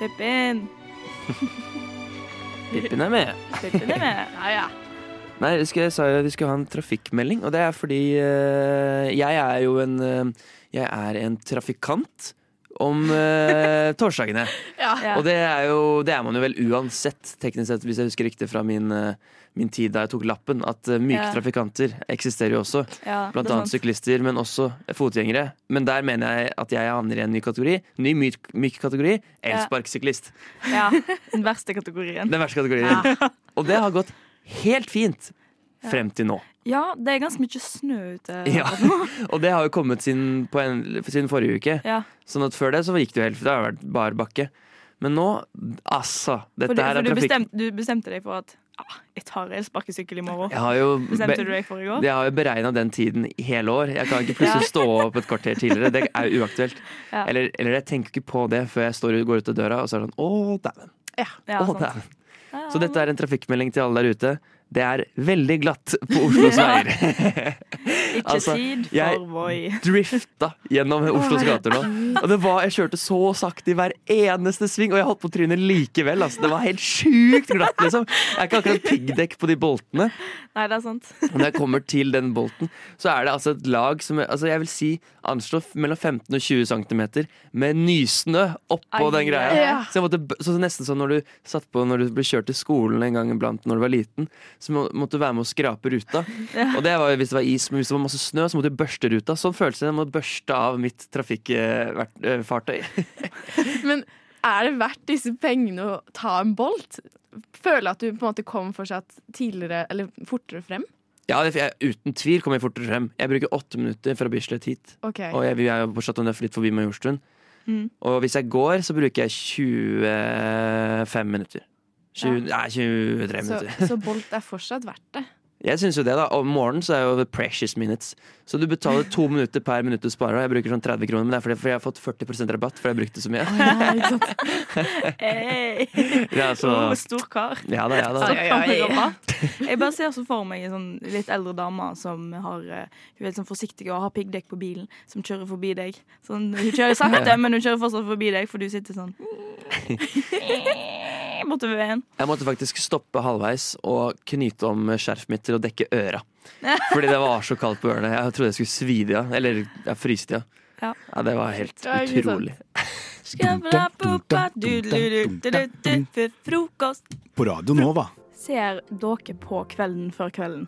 [SPEAKER 5] Pippin.
[SPEAKER 1] Pippin er med.
[SPEAKER 5] Pippin er med. Ja, ja.
[SPEAKER 2] Nei, jeg husker jeg sa jo at vi skulle ha en trafikkmelding, og det er fordi eh, jeg er jo en eh, Jeg er en trafikant om eh, torsdagene.
[SPEAKER 21] Ja.
[SPEAKER 2] Og det er jo Det er man jo vel uansett, teknisk sett, hvis jeg husker riktig fra min eh, Min tid da jeg tok lappen, at eh, myke
[SPEAKER 21] Ja.
[SPEAKER 2] trafikanter eksisterer jo også.
[SPEAKER 21] Ja,
[SPEAKER 2] Blant
[SPEAKER 21] det er
[SPEAKER 2] annet
[SPEAKER 21] sant.
[SPEAKER 2] syklister, men også fotgjengere. Men der mener jeg at jeg havner i en ny kategori. Ny myk, myk kategori elsparkesyklist.
[SPEAKER 21] Ja, Den verste kategorien.
[SPEAKER 2] Den verste kategorien. Og det har gått helt fint
[SPEAKER 21] Ja.
[SPEAKER 2] frem til nå.
[SPEAKER 21] Ja, det er ganske mye snø ute.
[SPEAKER 2] Ja. Og det har jo kommet siden, på en, siden forrige uke.
[SPEAKER 21] Ja.
[SPEAKER 2] Sånn at før det så gikk det jo helt Det har vært bar bakke. Men nå, altså Dette
[SPEAKER 21] for du,
[SPEAKER 2] her
[SPEAKER 21] for
[SPEAKER 2] er
[SPEAKER 21] du,
[SPEAKER 2] trafikk...
[SPEAKER 21] bestemte, du bestemte deg for at ah, jeg tar elsparkesykkel i morgen.
[SPEAKER 2] Jeg har jo
[SPEAKER 21] bestemte du deg for i går?
[SPEAKER 2] Jeg har jo beregna den tiden i hele år. Jeg kan ikke plutselig stå opp et kvarter tidligere. Det er jo uaktuelt.
[SPEAKER 21] Ja.
[SPEAKER 2] Eller, eller jeg tenker ikke på det før jeg står, ut- går ut av døra, og så er det sånn Å, dæven.
[SPEAKER 21] Ja,
[SPEAKER 2] Å,
[SPEAKER 21] sant.
[SPEAKER 2] dæven. Så dette er en trafikkmelding til alle der ute. Det er veldig glatt på Oslos
[SPEAKER 21] Ja.
[SPEAKER 2] veier.
[SPEAKER 21] Ikke
[SPEAKER 2] Altså,
[SPEAKER 21] tid for
[SPEAKER 2] jeg
[SPEAKER 21] Voi.
[SPEAKER 2] drifta gjennom Oslos gater nå. Og det var, jeg kjørte så sakte i hver eneste sving, og jeg holdt på trynet likevel. Altså. Det var helt sjukt glatt, liksom. Det er ikke akkurat piggdekk på de boltene.
[SPEAKER 21] Nei, det er sant.
[SPEAKER 2] Og Når jeg kommer til den bolten, så er det altså et lag som altså jeg vil si anslår f- mellom 15 og 20 cm med nysnø oppå
[SPEAKER 21] Ai,
[SPEAKER 2] den greia.
[SPEAKER 21] ja.
[SPEAKER 2] Så jeg måtte, b- så nesten sånn når du satt på når du ble kjørt til skolen en gang iblant når du var liten, så må, måtte du være med å skrape ruta.
[SPEAKER 21] Ja.
[SPEAKER 2] Og det var jo hvis det var is, men hvis det var masse snø, så måtte du børste ruta. Sånn føles det. Jeg må børste av mitt eh, trafikkfartøy.
[SPEAKER 22] Men er det verdt disse pengene å ta en bolt? Føler at du på en måte kom fortsatt tidligere, eller fortere frem?
[SPEAKER 2] Ja, det- jeg, uten tvil kommer jeg fortere frem. Jeg bruker åtte minutter fra Bislett hit.
[SPEAKER 22] Ok. Mm.
[SPEAKER 2] Og jeg, vi er jo på Chateau Neuf litt forbi Majorstuen. Og hvis jeg går, så bruker jeg 25 minutter. 20, Nei,
[SPEAKER 22] Så,
[SPEAKER 2] 23 minutter.
[SPEAKER 22] så bolt er fortsatt verdt det.
[SPEAKER 2] Jeg syns jo det, da. Om morgenen så er jo the precious minutes. Så du betaler to minutter per minutt du sparer. og Jeg bruker sånn 30 kroner, men det er fordi fordi jeg har fått 40 rabatt, for jeg har brukt det så mye.
[SPEAKER 21] Hey.
[SPEAKER 2] Ja, så-
[SPEAKER 21] Oh, stor kar.
[SPEAKER 2] Ja da, ja da.
[SPEAKER 21] Stor
[SPEAKER 2] Ai,
[SPEAKER 21] kar med
[SPEAKER 2] ai, ai.
[SPEAKER 21] rabatt. Jeg bare ser så for meg en sånn litt eldre dame som har, eh, hun er litt sånn forsiktig og har piggdekk på bilen, som kjører forbi deg. Sånn, hun kjører sakte,
[SPEAKER 2] Ja.
[SPEAKER 21] men hun kjører fortsatt forbi deg, for du sitter sånn bortover veien.
[SPEAKER 2] Jeg måtte faktisk stoppe halvveis og knyte om skjerfet mitt til å dekke øra. Fordi det var så kaldt på ørene. Jeg trodde jeg skulle svide av. Eller jeg fryste av.
[SPEAKER 21] Ja.
[SPEAKER 2] Ja, det var helt
[SPEAKER 21] Ja, ikke sant.
[SPEAKER 2] utrolig.
[SPEAKER 21] Skablabobba, du-du-du-du-du-du, for frokost.
[SPEAKER 13] På Radio Nova.
[SPEAKER 21] Ser dere på Kvelden før kvelden?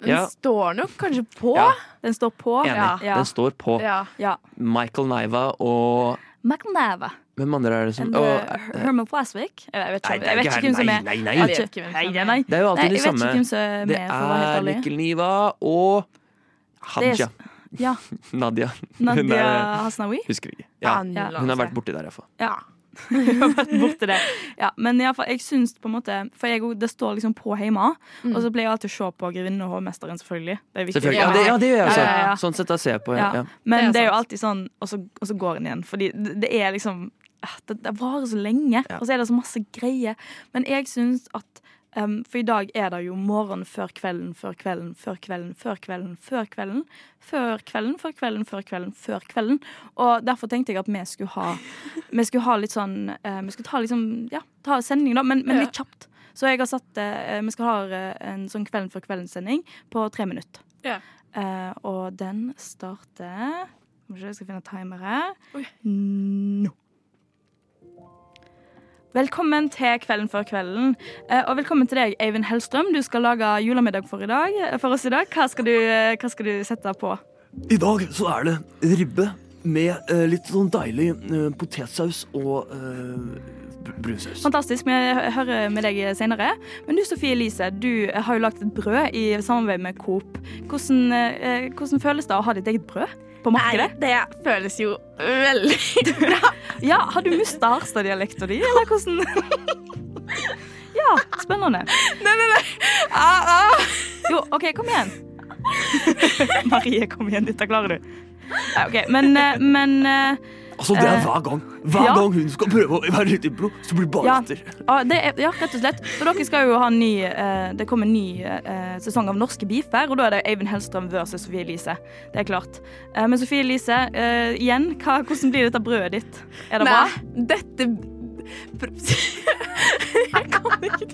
[SPEAKER 22] Den Ja. står nok kanskje på.
[SPEAKER 2] Ja.
[SPEAKER 21] Den står på.
[SPEAKER 2] Enig. Den står på.
[SPEAKER 21] Ja. ja.
[SPEAKER 2] Michael Niva og
[SPEAKER 21] McNava.
[SPEAKER 2] Hvem andre er det som
[SPEAKER 21] And,
[SPEAKER 2] Å,
[SPEAKER 21] uh,
[SPEAKER 2] eh,
[SPEAKER 21] Herman Plasvik? Jeg vet
[SPEAKER 2] Nei,
[SPEAKER 21] ikke,
[SPEAKER 2] det er
[SPEAKER 21] jeg vet
[SPEAKER 2] ikke
[SPEAKER 21] ikke hvem som
[SPEAKER 2] Herman.
[SPEAKER 21] er
[SPEAKER 2] Nei, nei, nei.
[SPEAKER 21] Jeg
[SPEAKER 2] Jeg
[SPEAKER 21] vet
[SPEAKER 2] vet
[SPEAKER 21] ikke hvem som er. Nei,
[SPEAKER 2] Det er jo alltid de
[SPEAKER 21] Jeg vet
[SPEAKER 2] samme.
[SPEAKER 21] ikke hvem som er
[SPEAKER 2] Det
[SPEAKER 21] med, for å være
[SPEAKER 2] er
[SPEAKER 21] helt ærlig.
[SPEAKER 2] Mikkel Niva og Haja.
[SPEAKER 21] Det er- Ja.
[SPEAKER 2] Nadia.
[SPEAKER 21] Nadia
[SPEAKER 2] Hun
[SPEAKER 21] Hasnaoui?
[SPEAKER 2] Husker ikke. Ja.
[SPEAKER 21] Ja.
[SPEAKER 2] Hun har vært borti der, iallfall.
[SPEAKER 21] Ja. Jeg har vært borti det. Ja, men i alle fall, jeg syns på en måte For jeg, og- det står liksom på hjemme, og så pleier jeg alltid å se på Grevinnen og hovmesteren, selvfølgelig. Det er viktig.
[SPEAKER 2] Selvfølgelig. Ja, det, ja, det gjør jeg
[SPEAKER 21] Ja,
[SPEAKER 2] også.
[SPEAKER 21] ja, ja.
[SPEAKER 2] Sånn sett da ser jeg på. Ja.
[SPEAKER 21] Ja.
[SPEAKER 2] Ja.
[SPEAKER 21] Men det er, jo alltid sånn, og så, og så går en igjen. Fordi det, det er liksom ah, det, det varer så lenge, og så er det så masse greier. Men jeg syns at em, For i dag er det jo morgen før kvelden, før kvelden, før kvelden, før kvelden, før kvelden. Før kvelden, før kvelden, før kvelden, før kvelden. Og derfor tenkte jeg at vi skulle ha Vi skulle ha litt sånn eh, Vi skulle ta liksom Ja, ta sending, da, men, men litt kjapt. Så jeg har satt eh, Vi skal ha eh, en sånn Kvelden før kvelden-sending på tre minutter. Eh, og den starter Skal vi se, jeg skal finne timere. Nå. Velkommen til Kvelden før kvelden. Eh, og velkommen til deg, Eivind Hellstrøm. Du skal lage julemiddag for, i dag, eh, for oss i dag. Hva skal du, eh, hva skal du sette på? sånn.
[SPEAKER 23] I dag så er det ribbe med eh, litt sånn deilig eh, potetsaus og eh, br- brunsaus.
[SPEAKER 21] Fantastisk. Vi hører med deg senere. Men du, Sofie Elise, du eh, har jo lagd et brød i samarbeid med Coop. Hvordan, eh, hvordan føles det å ha ditt eget brød på markedet? Nei, det føles jo veldig bra. ja, har du mista Harstad-dialekta di, eller hvordan Ja, spennende. Nei, nei, Ah, nei. Jo, OK, kom igjen. Marie, kom igjen. Dette klarer du. Ja, OK, men, eh, men eh,
[SPEAKER 23] Altså, det er
[SPEAKER 21] eh,
[SPEAKER 23] hver gang Hver
[SPEAKER 21] ja.
[SPEAKER 23] gang hun skal prøve å være litt impro, så blir det bare
[SPEAKER 21] Ja.
[SPEAKER 23] etter.
[SPEAKER 21] Ja, det er, ja, rett og slett. For dere skal jo ha en ny eh, Det kommer en ny eh, sesong av Norske beefer, og da er det Eivind Hellstrøm versus Sofie Elise. Det er klart. Eh, men Sofie Elise, eh, igjen, hva, hvordan blir dette brødet ditt? Er det
[SPEAKER 22] Nei,
[SPEAKER 21] bra?
[SPEAKER 22] dette Jeg kan ikke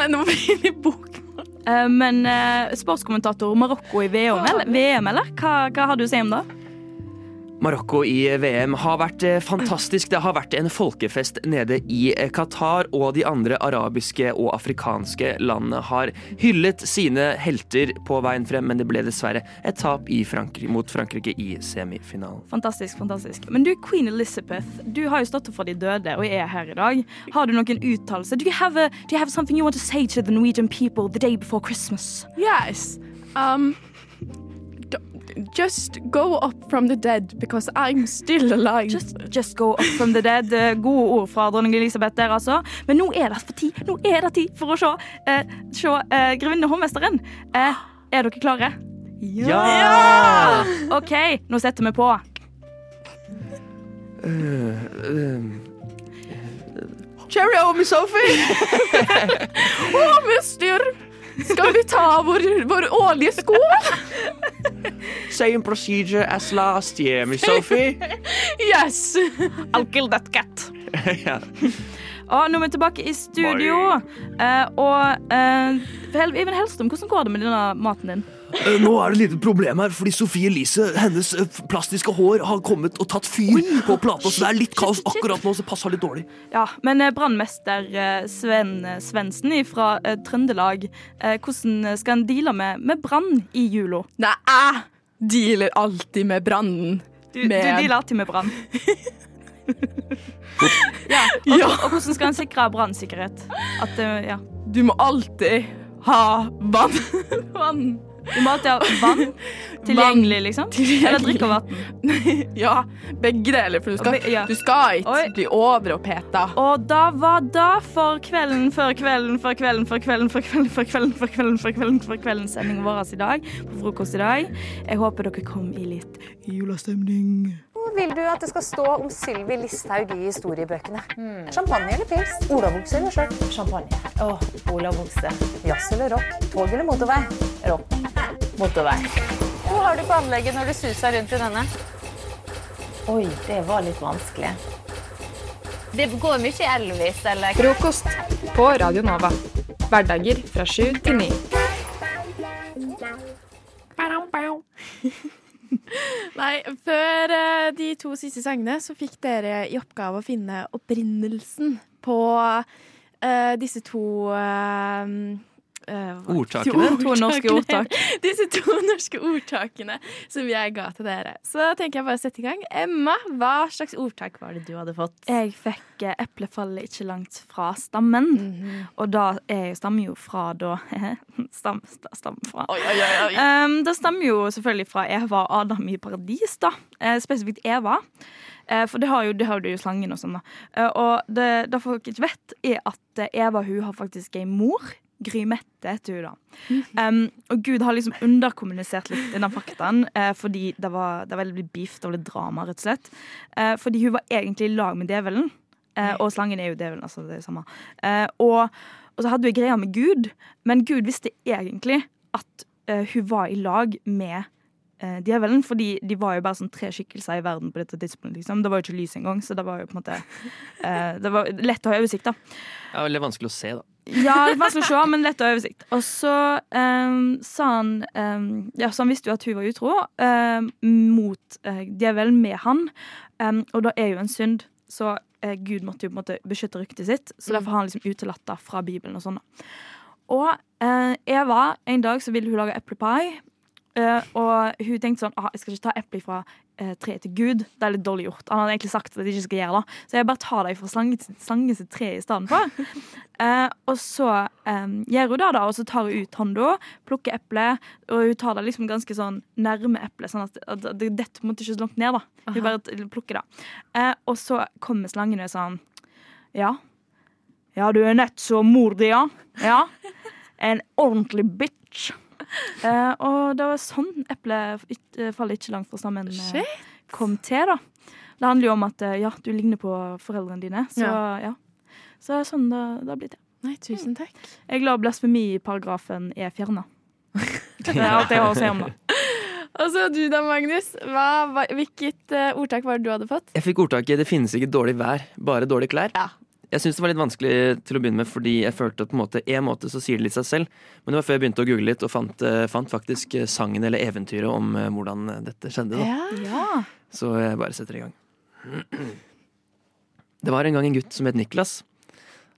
[SPEAKER 21] Nei, nå blir det bokmål. Eh, Men eh, sportskommentator Marokko i VM, eller? VM, eller? Hva, hva har du å si om det?
[SPEAKER 2] Marokko i VM har vært eh, fantastisk. Det har vært en folkefest nede i eh, Qatar, og de andre arabiske og afrikanske landene har hyllet sine helter på veien frem, men det ble dessverre et tap i Frankrike, mot Frankrike i semifinalen.
[SPEAKER 21] Fantastisk, fantastisk. Men du, Queen Elizabeth, du har jo stått opp for de døde og er her i dag. Har du noen uttalelse? Do, you have a- do you have something you want to say to the Norwegian people the day before Christmas?
[SPEAKER 22] Yes. Um, d- just go up from the dead because I'm still alive.
[SPEAKER 21] Just, just go up from the dead. Eh, Gode ord fra dronning Elisabeth der, altså. Men nå er det for tid Nå er det tid for å se, eh, se eh, grevinne og hovmesteren. Eh, er dere klare?
[SPEAKER 2] Ja!
[SPEAKER 21] OK, nå setter vi på.
[SPEAKER 23] Eh,
[SPEAKER 22] Cheerio, Miss Sophie! Å, mister! Skal vi ta vår, vår årlige skål?
[SPEAKER 2] Same procedure as last year, Miss Sophie.
[SPEAKER 22] Yes!
[SPEAKER 21] I'll kill that cat.
[SPEAKER 2] ja.
[SPEAKER 21] Og nå er vi tilbake i studio. Eh, og eh, Hel- Even Hellstrøm, hvordan går det med denne maten din?
[SPEAKER 23] Eh, Nå er det et lite problem her, fordi Sofie Elise, hennes eh, plastiske hår har kommet og tatt fyr på plata, så det er litt kaos akkurat nå, så det passer litt dårlig.
[SPEAKER 21] Ja, Men eh, brannmester eh, Sven eh, Svendsen fra eh, Trøndelag, eh, hvordan skal en deale med, med brann i jula?
[SPEAKER 22] Nei, jeg dealer alltid med brannen.
[SPEAKER 21] Du, du dealer alltid med brann. ja, og, og hvordan skal en sikre brannsikkerhet? At eh, ja.
[SPEAKER 22] Du må alltid ha vann. vann.
[SPEAKER 21] Du må alltid ha vann tilgjengelig, liksom? Eller drikkevann?
[SPEAKER 22] ja, begge deler, for du skal,
[SPEAKER 21] Be- ja.
[SPEAKER 22] du skal ikke bli overoppheta.
[SPEAKER 21] Og da var det for kvelden før kvelden før kvelden før kvelden før kvelden før kvelden før kvelden før kvelden før kveldens sending vår i dag. På frokost i dag. Jeg håper dere kom i litt julestemning.
[SPEAKER 3] Hvor vil du at det skal stå om Sylvi Listhaug i historiebøkene? Champagne eller pils? Olavbukse eller skjørt? Champagne. Åh, olavbukse. Jazz eller rock? Tog eller motorvei? Rock. Motorvei. Hva har du på anlegget når du suser rundt i denne? Oi, det var litt vanskelig. Det går mye Elvis, eller
[SPEAKER 4] Frokost på Radio Nova. Hverdager fra sju til ni.
[SPEAKER 22] Nei, før eh, de to siste sangene så fikk dere i oppgave å finne opprinnelsen på eh, disse to eh, eh, hva-
[SPEAKER 2] Ordtakene?
[SPEAKER 22] disse ordtakene.
[SPEAKER 21] To norske ordtak.
[SPEAKER 22] disse to norske ordtakene som jeg ga til dere. Så tenker jeg bare å sette i gang. Emma, hva slags ordtak var det du hadde fått?
[SPEAKER 21] Jeg fikk eh, eplefalle ikke langt fra stammen.
[SPEAKER 22] Mhm.
[SPEAKER 21] Og da er jo, stammer jo fra da Stam, sta- stam fra.
[SPEAKER 22] oi, oi, oi.
[SPEAKER 21] Um, det stammer jo selvfølgelig fra Eva og Adam i paradis, da. Eh, spesifikt Eva. Eh, for det har jo, det har du jo slangen og sånn, da. Eh, og det, det folk ikke vet, er at eh, Eva hun har faktisk ei mor. Gry Mette heter hun, da. Um, og Gud har liksom underkommunisert litt den faktaen, eh, fordi det var, det var veldig beef, det var litt drama, rett og slett. Eh, fordi hun var egentlig i lag med djevelen. Eh, og slangen er jo djevelen, altså. Det er det samme. Eh, og, og så hadde hun greia med Gud, men Gud visste egentlig at eh, hun var i lag med eh, djevelen, fordi de var jo bare sånn tre skikkelser i verden på dette tidspunktet. Liksom. Det var jo ikke lys engang, så det var jo på en måte eh, Det var lett å ha oversikt, da.
[SPEAKER 2] Det er veldig vanskelig å se, da.
[SPEAKER 21] Ja, litt vanskelig å se, men lett å ha oversikt. Og så ehm, sa han ehm, Ja, så han visste jo at hun var utro ehm, mot eh, djevelen med han, Ehm, og da er jo en synd. Så eh, Gud måtte jo på en måte beskytte ryktet sitt, så derfor har han liksom utelatt det fra Bibelen og sånn. da. Og eh, Eva, en dag så ville hun lage eplepai. Eh, og hun tenkte sånn ah, Jeg skal ikke ta eple fra eh, treet til Gud. Det er litt dårlig gjort. Han hadde egentlig sagt at jeg ikke skal gjøre det. Så jeg bare tar det fra slangen, slangen sitt tre i stedet for. Eh, og så eh, gjør hun det, da, og så tar hun ut hånda, plukker eplet, og hun tar det liksom ganske sånn nærme eplet, sånn at, at det detter på en måte ikke så langt ned. da Hun bare t- plukker det. Eh, og så kommer slangen og er sånn Ja. Ja, du er nett som mor di, ja. ja. En ordentlig bitch. Eh, og det var sånn eplet it- eh, faller ikke langt fra stammen eh,
[SPEAKER 22] Shit.
[SPEAKER 21] kom til, da. Det handler jo om at eh, ja, du ligner på foreldrene dine, så
[SPEAKER 22] Ja.
[SPEAKER 21] ja. Så det er sånn det, det har blitt, ja.
[SPEAKER 22] Nei, tusen takk.
[SPEAKER 21] Jeg er glad blasfemiparagrafen er fjerna. Det er alt jeg har å si om det.
[SPEAKER 22] Og så du da, Magnus. Hva, hva, hvilket eh, ordtak var det du hadde fått?
[SPEAKER 2] Jeg fikk ordtaket 'det finnes ikke dårlig vær, bare dårlige klær'. Jeg syns det var litt vanskelig til å begynne med, fordi jeg følte at på en måte, en måte så sier det litt seg selv. Men det var før jeg begynte å google litt, og fant, eh, fant faktisk eh, sangen eller eventyret om eh, hvordan dette skjedde. Da.
[SPEAKER 22] Ja.
[SPEAKER 2] Så jeg bare setter i gang. Det var en gang en gutt som het Niklas.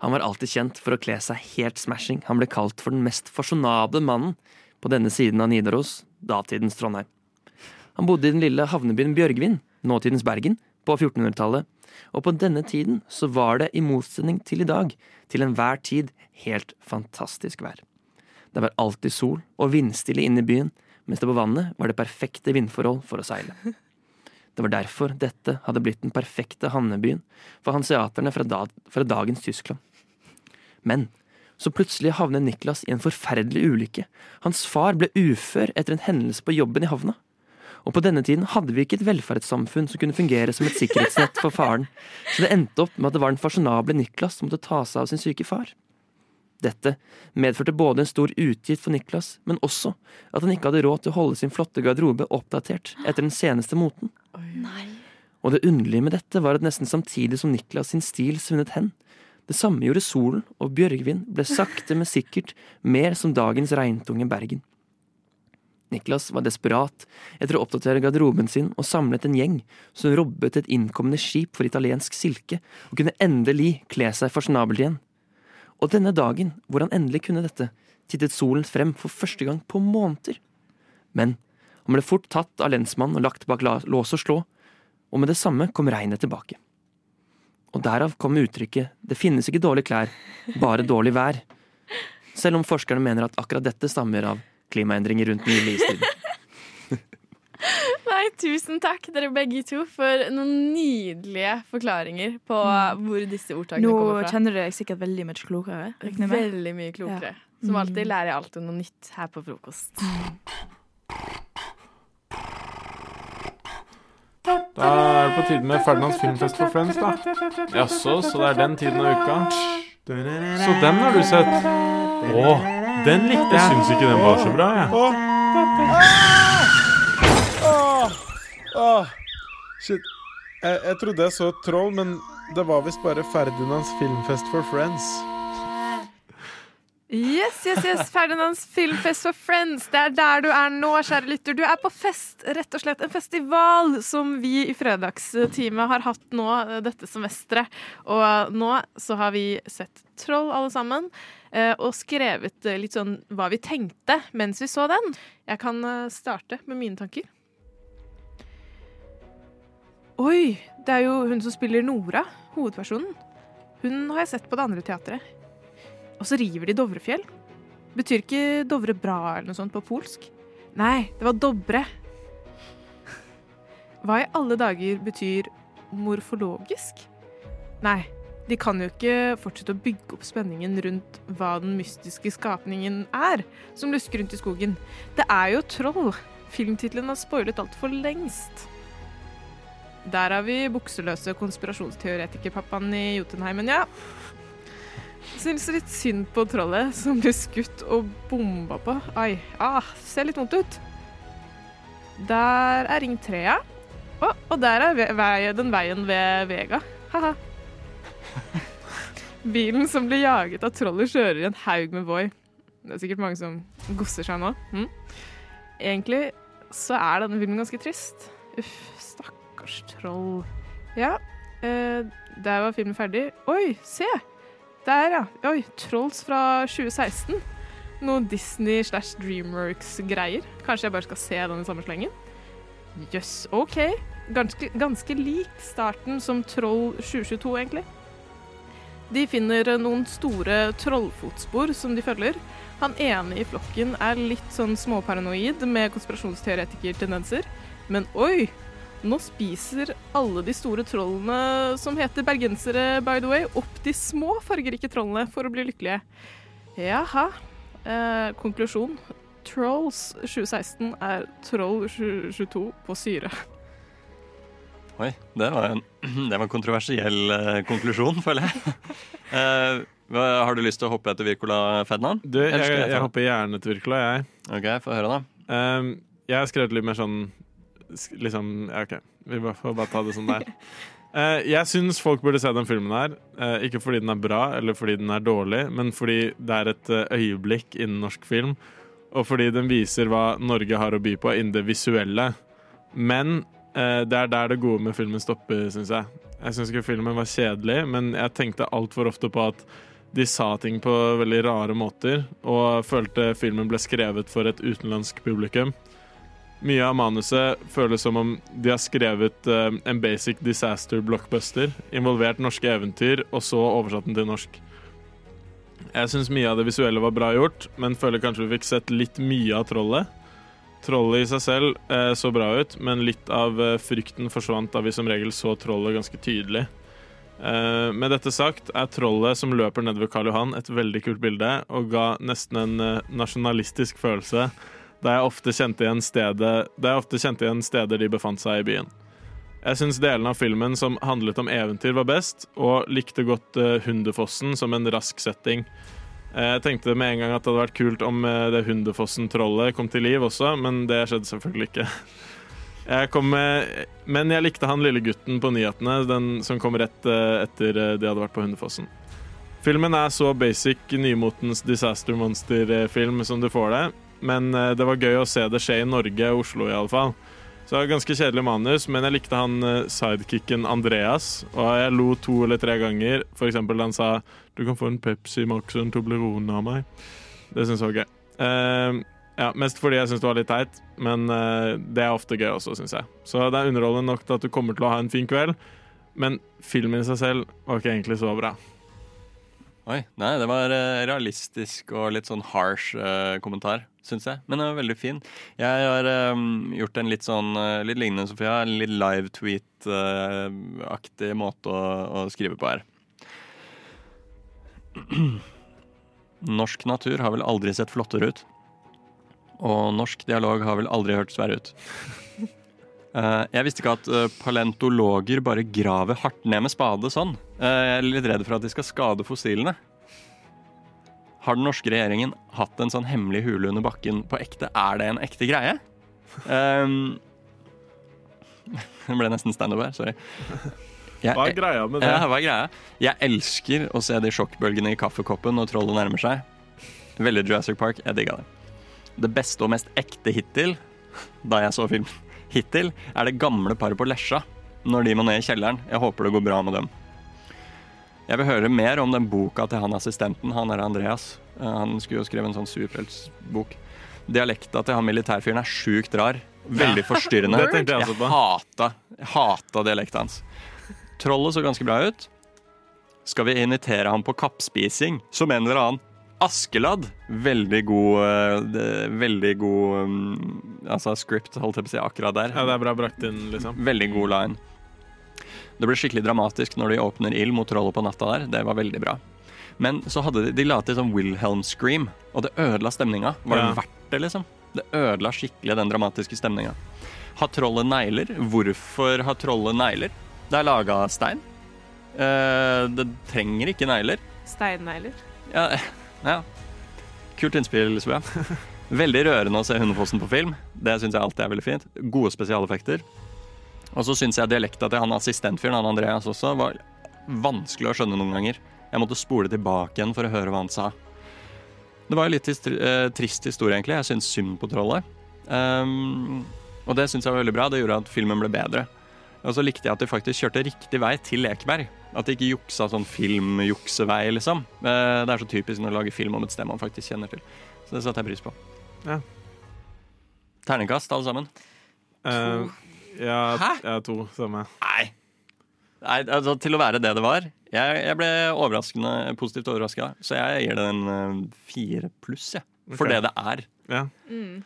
[SPEAKER 2] Han var alltid kjent for å kle seg helt smashing. Han ble kalt for den mest fasjonable mannen på denne siden av Nidaros, datidens Trondheim. Han bodde i den lille havnebyen Bjørgvin, nåtidens Bergen, på 1400-tallet. Og på denne tiden så var det, i motsetning til i dag, til enhver tid helt fantastisk vær. Det var alltid sol og vindstille inne i byen, mens det på vannet var det perfekte vindforhold for å seile. Det var derfor dette hadde blitt den perfekte havnebyen for hanseaterne fra, da, fra dagens Tyskland. Men så plutselig havnet Niklas i en forferdelig ulykke. Hans far ble ufør etter en hendelse på jobben i havna. Og på denne tiden hadde vi ikke et velferdssamfunn som kunne fungere som et sikkerhetsnett for faren, så det endte opp med at det var den fasjonable Niklas som måtte ta seg av sin syke far. Dette medførte både en stor utgift for Niklas, men også at han ikke hadde råd til å holde sin flotte garderobe oppdatert etter den seneste moten. Og det underlige med dette var at nesten samtidig som Niklas sin stil svunnet hen, det samme gjorde solen, og Bjørgvin ble sakte, men sikkert mer som dagens regntunge Bergen. Niklas var desperat etter å oppdatere garderoben sin og samlet en gjeng som robbet et innkommende skip for italiensk silke og kunne endelig kle seg fasjonabelt igjen. Og denne dagen, hvor han endelig kunne dette, tittet solen frem for første gang på måneder. Men han ble fort tatt av lensmannen og lagt bak la- lås og slå, og med det samme kom regnet tilbake. Og derav kom uttrykket 'det finnes ikke dårlige klær, bare dårlig vær', selv om forskerne mener at akkurat dette stammer av klimaendringer rundt den lille istiden.
[SPEAKER 22] Nei, tusen takk dere begge to for noen nydelige forklaringer på eh, hvor disse ordtakene
[SPEAKER 21] Nå
[SPEAKER 22] kommer fra.
[SPEAKER 21] kjenner du deg sikkert veldig mye klokere. regner jeg med.
[SPEAKER 22] Veldig mye
[SPEAKER 21] Ja.
[SPEAKER 22] klokere.
[SPEAKER 21] Mm.
[SPEAKER 22] Som alltid lærer jeg alltid noe nytt her på frokost.
[SPEAKER 6] Da er det på tide med Ferdinands filmfest for Friends, da. Jaså, så det er den tiden av uka. Så den har du sett. Å, den likte jeg. Jeg syns ikke den var så bra, jeg.
[SPEAKER 7] Åh, åh, shit. Jeg, jeg trodde jeg så et troll, men det var visst bare Ferdinands filmfest for friends.
[SPEAKER 22] Yes, yes, yes, Ferdinands filmfest for friends. Det er der du er nå, kjære lytter. Du er på fest, rett og slett. En festival som vi i fredagsteamet har hatt nå eh, dette semesteret. Og eh, nå så har vi sett Troll, alle sammen. eh, Og skrevet eh, litt sånn hva vi tenkte mens vi så den. Jeg kan eh, starte med mine tanker. Oi, det er jo hun som spiller Nora, hovedpersonen. Hun har jeg sett på det andre teatret. Og så river de Dovrefjell. Betyr ikke Dovre bra eller noe sånt på polsk? Nei, det var Dobre. Hva i alle dager betyr morfologisk? Nei, de kan jo ikke fortsette å bygge opp spenningen rundt hva den mystiske skapningen er, som lusker rundt i skogen. Det er jo troll. Filmtittelen har spoilet altfor lengst. Der har vi bukseløse konspirasjonsteoretikerpappaen i Jotunheimen, ja. Syns litt synd på trollet som ble skutt og bomba på. Ai, ah, ser litt vondt ut. Der er Ring 3, ja. Å, og der er ve vei den veien ved Vega. Haha. Bilen som blir jaget av trollet, kjører i en haug med Voi. Det er sikkert mange som gosser seg nå. Hm? Egentlig så er denne filmen ganske trist. Uff, stakkars troll. Ja, eh, der var filmen ferdig. Oi, se! Der, ja. Oi, Trolls fra 2016. Noe Disney slash Dreamworks-greier. Kanskje jeg bare skal se den i samme slengen? Jøss, yes, OK. Ganske, ganske lik starten som Troll 2022, egentlig. De finner noen store trollfotspor som de følger. Han ene i flokken er litt sånn småparanoid med konspirasjonsteoretikertendenser. Men oi, nå spiser alle de store trollene som heter bergensere, by the way, opp de små fargerike trollene for å bli lykkelige. Jaha. Eh, konklusjon. Trolls 2016 er Troll 2022 på syre.
[SPEAKER 24] Oi, det var en, det var en kontroversiell eh, konklusjon, føler jeg. Eh, hva, har du lyst til å hoppe etter Wirkola Fednan?
[SPEAKER 6] Du, jeg, jeg, Ehm, hopper gjerne til Wirkola, jeg.
[SPEAKER 24] Ok, få høre da.
[SPEAKER 6] jeg har skrevet litt mer sånn sk- liksom ja, OK, vi bare- får bare ta det sånn der. Eh, jeg syns folk burde se den filmen her. eh, ikke fordi den er bra eller fordi den er dårlig, men fordi det er et eh, øyeblikk innen norsk film. Og fordi den viser hva Norge har å by på innen det visuelle. Men eh, det er der det gode med filmen stopper, syns jeg. Jeg syns ikke filmen var kjedelig, men jeg tenkte altfor ofte på at de sa ting på veldig rare måter, og følte filmen ble skrevet for et utenlandsk publikum. Mye av manuset føles som om de har skrevet eh, en basic disaster blockbuster, involvert norske eventyr, og så oversatt den til norsk. Jeg syns mye av det visuelle var bra gjort, men føler kanskje vi fikk sett litt mye av trollet. Trollet i seg selv eh, så bra ut, men litt av eh, frykten forsvant da vi som regel så trollet ganske tydelig. Eh, med dette sagt er trollet som løper nedover Karl Johan et veldig kult bilde, og ga nesten en eh, nasjonalistisk følelse da jeg ofte kjente igjen stedet Da jeg ofte kjente igjen steder de befant seg i byen. Jeg syns delen av filmen som handlet om eventyr, var best, og likte godt eh, Hundefossen som en rask setting. Eh, Jeg tenkte med en gang at det hadde vært kult om eh, det Hundefossen-trollet kom til liv også, men det skjedde selvfølgelig ikke. Jeg kom med, men jeg likte han lille gutten på nyhetene, den som kom rett eh, etter eh, de hadde vært på Hundefossen. Filmen er så basic nymotens disaster monster-film som du får det, men eh, det var gøy å se det skje i Norge og Oslo iallfall. Så det var ganske kjedelig manus, men jeg likte han eh, sidekicken Andreas, og jeg lo to eller tre ganger. For eksempel da han sa 'du kan få en Pepsi Max og en Toblerone av meg'. Det syns jeg var gøy. Eh, ja, mest fordi jeg syns det var litt teit, men eh, det er ofte gøy også, syns jeg. Så det er underholdende nok til at du kommer til å ha en fin kveld, men filmen i seg selv var ikke egentlig så bra.
[SPEAKER 24] Oi, nei, det var eh, realistisk og litt sånn harsh eh, kommentar, syns jeg. Men den var veldig fin. Jeg har eh, gjort en litt sånn eh, litt lignende Sofia. En litt live-tweet-aktig måte å, å skrive på her. Norsk natur har vel aldri sett flottere ut. Og norsk dialog har vel aldri hørtes verre ut. Eh, jeg visste ikke at eh, palentologer bare graver hardt ned med spade sånn. Eh, jeg er litt redd for at de skal skade fossilene. Har den norske regjeringen hatt en sånn hemmelig hule under bakken på ekte? Er det en ekte greie? Um, det ble nesten standup her, sorry.
[SPEAKER 6] Hva er greia med det?
[SPEAKER 24] Ja, hva er greia? Jeg elsker å se de sjokkbølgene i kaffekoppen når trollet nærmer seg. Veldig Jurassic Park. Jeg digga det. Det beste og mest ekte hittil, da jeg så filmen hittil, er det gamle paret på Lesja. Når de må ned i kjelleren. Jeg håper det går bra med dem. Jeg vil høre mer om den boka til han assistenten, han er Andreas. Eh, Han skulle jo skrive en sånn superheltsbok. Dialekta til han militærfyren er sjukt rar. Veldig
[SPEAKER 6] Ja.
[SPEAKER 24] forstyrrende.
[SPEAKER 6] Det tenkte jeg også på.
[SPEAKER 24] hata, jeg hata dialekta hans. Trollet så ganske bra ut. Skal vi invitere ham på kappspising, som en eller annen Askeladd? Veldig god eh, det- Veldig god um, Altså script, holdt jeg på å si, akkurat der.
[SPEAKER 6] Ja, det er bra brakt inn, liksom.
[SPEAKER 24] Veldig god line. Det ble skikkelig dramatisk når de åpner ild mot trollet på natta der. Det var veldig bra. Men så hadde de, de la til sånn Wilhelm-scream, og det ødela stemninga. Var
[SPEAKER 6] Ja.
[SPEAKER 24] det verdt det, liksom? Det ødela skikkelig den dramatiske stemninga. Har trollet negler? Hvorfor har trollet negler? Det er laga av stein. Eh, det trenger ikke negler.
[SPEAKER 25] Steinnegler.
[SPEAKER 24] Ja, ja. Kult innspill, Svea. Veldig rørende å se Hundefossen på film. Det syns jeg alltid er veldig fint. Gode spesialeffekter. Og så syns jeg dialekta til han assistentfyren, han Andreas også, var vanskelig å skjønne noen ganger. Jeg måtte spole tilbake igjen for å høre hva han sa. Det var jo litt histri- eh, trist historie, egentlig. Jeg syns synd på trollet. Ehm, og det syns jeg var veldig bra. Det gjorde at filmen ble bedre. Og så likte jeg at de faktisk kjørte riktig vei til Ekeberg. At de ikke juksa sånn filmjuksevei, liksom. Eh, Det er så typisk når du lager film om et sted man faktisk kjenner til. Så det satte jeg pris på.
[SPEAKER 6] Ja.
[SPEAKER 24] Ternekast, alle sammen.
[SPEAKER 6] Eh, ja,
[SPEAKER 24] Hæ?
[SPEAKER 6] Ja, to, samme.
[SPEAKER 24] Nei. Nei, altså Til å være det det var. Jeg, jeg ble overraskende, positivt overraska, så jeg gir det en eh, fire pluss, jeg. For
[SPEAKER 6] Ok.
[SPEAKER 24] det det er.
[SPEAKER 25] Mm.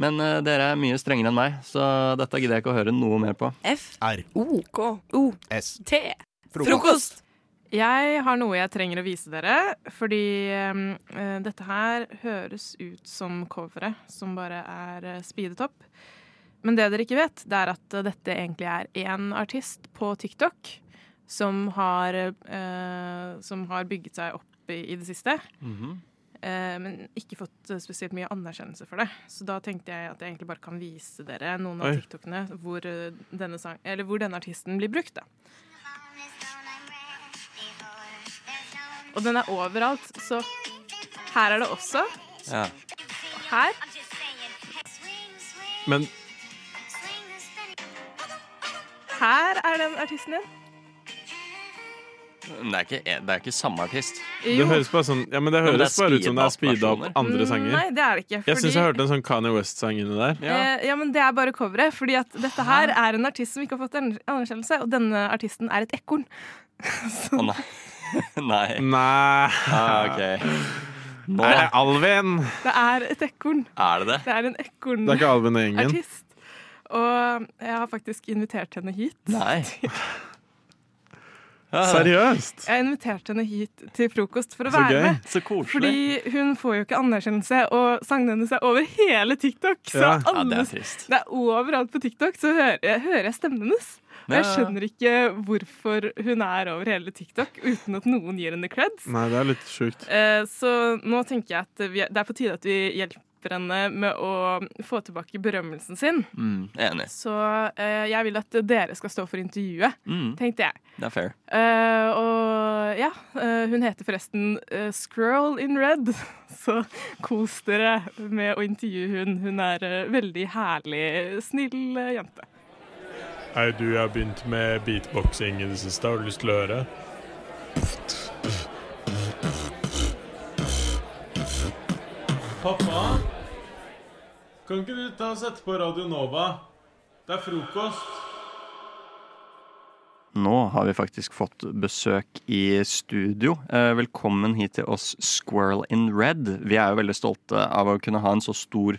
[SPEAKER 24] Men eh, dere er mye strengere enn meg, så dette gidder jeg ikke å høre noe mer på.
[SPEAKER 25] F.
[SPEAKER 24] R.
[SPEAKER 25] O. K. O.
[SPEAKER 24] S.
[SPEAKER 25] T.
[SPEAKER 24] Frokost.
[SPEAKER 25] Jeg har noe jeg trenger å vise dere, fordi eh, dette her høres ut som coveret, som bare er eh, speedet opp. Men det dere ikke vet, det er at eh, dette egentlig er én artist på TikTok som har, eh, som har bygget seg opp i, i det siste.
[SPEAKER 22] eh, men ikke fått eh, spesielt mye anerkjennelse for det. Så da tenkte jeg at jeg egentlig bare kan vise dere noen av
[SPEAKER 1] Oi.
[SPEAKER 22] TikTokene hvor eh, denne, sang, eller hvor denne artisten blir brukt. da. Og den er overalt, så her er det også.
[SPEAKER 24] Ja.
[SPEAKER 22] Og her.
[SPEAKER 24] Men
[SPEAKER 22] Her er den artisten din.
[SPEAKER 24] det er ikke, det er ikke samme artist.
[SPEAKER 22] Jo.
[SPEAKER 6] Det høres bare, sånn, ja, men det
[SPEAKER 24] Ja, men
[SPEAKER 6] høres
[SPEAKER 24] det er
[SPEAKER 6] bare ut som det er speeda
[SPEAKER 24] speeda
[SPEAKER 6] opp andre sanger.
[SPEAKER 22] Mm, Nei, det er det ikke.
[SPEAKER 6] Jeg syns jeg
[SPEAKER 22] fordi-
[SPEAKER 6] hørte en sånn Kanye West-sang inni der.
[SPEAKER 22] Eh, ja, men Det er bare coveret. fordi at dette her er en artist som ikke har fått en anerkjennelse, og denne artisten er et ekorn.
[SPEAKER 24] Å nei. nei. Ah, ok. Nå
[SPEAKER 6] Nei, det er Alvin!
[SPEAKER 22] Det er et ekorn.
[SPEAKER 24] er det det.
[SPEAKER 22] Det er en ekorn.
[SPEAKER 6] Det er ikke Alvin og gjengen.
[SPEAKER 22] Artist. Og jeg har faktisk invitert henne hit.
[SPEAKER 24] Nei.
[SPEAKER 6] Seriøst?
[SPEAKER 22] Jeg har invitert henne hit til frokost for å
[SPEAKER 6] Så
[SPEAKER 22] være
[SPEAKER 6] gøy.
[SPEAKER 22] med.
[SPEAKER 24] Så koselig.
[SPEAKER 22] Fordi hun får jo ikke anerkjennelse, og sangene hennes er over hele TikTok. Så
[SPEAKER 24] Ja. Ja,
[SPEAKER 22] alle,
[SPEAKER 24] det er trist.
[SPEAKER 22] det er overalt på TikTok, så hører jeg, hører jeg stemmen hennes. Og jeg
[SPEAKER 6] Ja.
[SPEAKER 22] skjønner ikke hvorfor hun er over hele TikTok uten at noen gir henne creds.
[SPEAKER 6] Nei, det er litt sjukt.
[SPEAKER 22] Eh, Så nå tenker jeg at vi, det er på tide at vi hjelper henne med å få tilbake berømmelsen sin.
[SPEAKER 24] Mm, enig.
[SPEAKER 22] Så eh, jeg vil at dere skal stå for intervjuet,
[SPEAKER 24] Mm.
[SPEAKER 22] tenkte jeg.
[SPEAKER 24] Det er fair.
[SPEAKER 22] Eh, og ja, eh, hun heter forresten eh, Squirrel in Red, så kos dere med å intervjue hun. Hun er eh, veldig herlig, snill eh, jente.
[SPEAKER 26] Hei, du, jeg har begynt med beatboxing i det siste. Har du lyst til å høre?
[SPEAKER 6] Pappa, kan ikke du ta og sette på Radio Nova? Det er frokost.
[SPEAKER 24] Nå har vi faktisk fått besøk i studio. Eh, Velkommen hit til oss, Squirrel in Red. Vi er jo veldig stolte av å kunne ha en så stor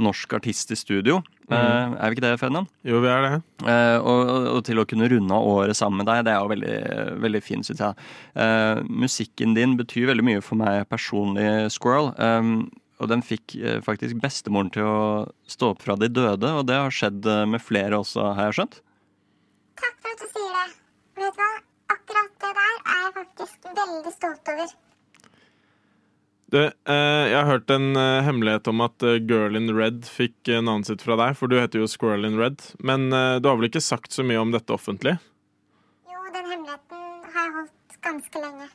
[SPEAKER 24] norsk artist i studio. Eh,
[SPEAKER 6] Mhm.
[SPEAKER 24] Er vi ikke det, Ferdinand?
[SPEAKER 6] Jo, vi er det.
[SPEAKER 24] Eh, og, og- og til å kunne runde av året sammen med deg, det er jo veldig, veldig fint, syns jeg. Eh, musikken din betyr veldig mye for meg personlig, Squirrel. Eh, og den fikk eh, faktisk bestemoren til å stå opp fra de døde, og det har skjedd eh, med flere også, har jeg skjønt?
[SPEAKER 16] for at du sier det. Vet du hva? Akkurat det der er jeg faktisk veldig stolt over.
[SPEAKER 6] Du, eh, jeg har hørt en eh, hemmelighet om at eh, Girl in Red fikk eh, navnet sitt fra deg, for du heter jo Squirrel in Red. Men eh, du har vel ikke sagt så mye om dette offentlig?
[SPEAKER 16] Jo, den hemmeligheten har jeg holdt ganske lenge.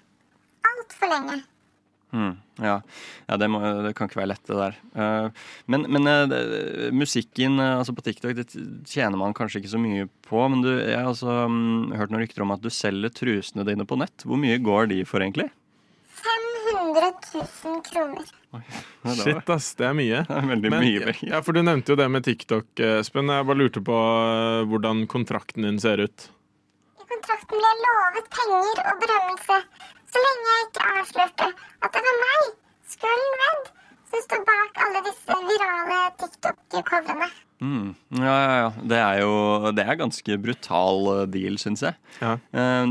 [SPEAKER 16] Altfor lenge.
[SPEAKER 24] Mm, ja, ja det, må, det kan ikke være lett, det der. Eh, men men eh, det- musikken eh, altså på TikTok det tjener man kanskje ikke så mye på. Men du, jeg har også mm, hørt noen rykter om at du selger trusene dine på nett. Hvor mye går de for, egentlig?
[SPEAKER 16] 500 000 kroner.
[SPEAKER 6] Shit, ass, det er mye.
[SPEAKER 24] Veldig
[SPEAKER 6] Men,
[SPEAKER 24] mye penger.
[SPEAKER 6] Ja, for du nevnte jo det med TikTok, eh, Espen. Jeg bare lurte på eh, hvordan kontrakten din ser ut.
[SPEAKER 16] I kontrakten ble jeg lovet penger og berømmelse så lenge jeg ikke avslørte at det var meg, Skullen Red, som sto bak alle disse virale TikTok-coverene.
[SPEAKER 24] Mm. Ja, ja, ja. Det er jo det er ganske brutal eh, deal, syns jeg. Eh,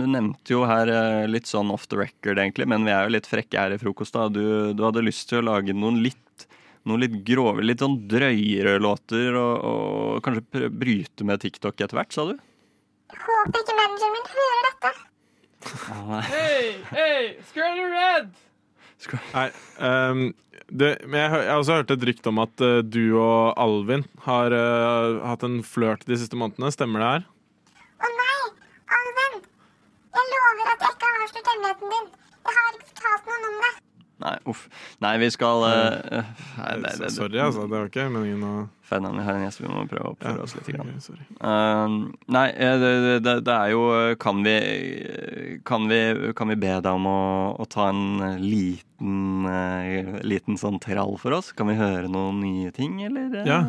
[SPEAKER 24] Du nevnte jo her eh, litt sånn off the record, egentlig, men vi er jo litt frekke her i frokost. da. Du, du hadde lyst til å lage noen litt, noen litt grove, litt sånn drøyere låter, og, og kanskje pr- bryte med TikTok etter hvert, sa du?
[SPEAKER 16] Håper ikke manageren min hører dette.
[SPEAKER 24] Ah,
[SPEAKER 22] Hei, hei, Squirrel in Red!
[SPEAKER 6] Nei, ehm, det, men jeg, hø- jeg har også hørt et rykte om at eh, du og Alvin har eh, hatt en flørt de siste månedene. Stemmer det her?
[SPEAKER 16] Å nei, Alvin! Jeg lover at jeg ikke har avslørt hemmeligheten din. Jeg har ikke fortalt noen om det.
[SPEAKER 24] Nei, uff. Nei, vi skal eh, eh, nei, det, det,
[SPEAKER 6] Sorry, altså. Det var ikke meningen å
[SPEAKER 24] Ferdinand, vi har en gjest, vi må prøve å oppføre oss litt. Grann.
[SPEAKER 6] ok, sorry.
[SPEAKER 24] Eh, nei, eh, det, det, det er jo eh, Kan vi, eh, kan vi, kan vi be deg om å, å ta en eh, liten, eh, liten sånn trall for oss? Kan vi høre noen nye ting, eller? eh?
[SPEAKER 6] Ja,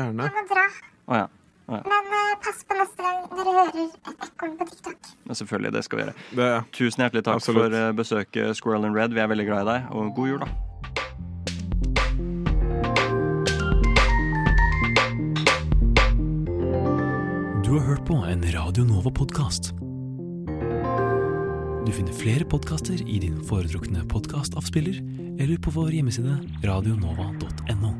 [SPEAKER 6] gjerne.
[SPEAKER 16] Jeg må dra.
[SPEAKER 24] Å ja. Å ja.
[SPEAKER 16] Men eh, pass på neste gang dere hører et ekorn på TikTok.
[SPEAKER 24] Men Selvfølgelig, det skal vi gjøre. Tusen hjertelig takk
[SPEAKER 6] Absolutt.
[SPEAKER 24] for eh, besøket, Squirrel in Red. Vi er veldig glad i deg, og god jul, da.
[SPEAKER 10] Du har hørt på en Radio Nova-podkast. Du finner flere podkaster i din foretrukne podkastavspiller eller på vår hjemmeside radionova.no.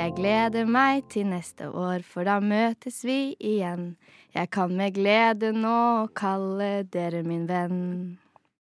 [SPEAKER 11] Jeg gleder meg til neste år, for da møtes vi igjen. Jeg kan med glede nå kalle dere min venn.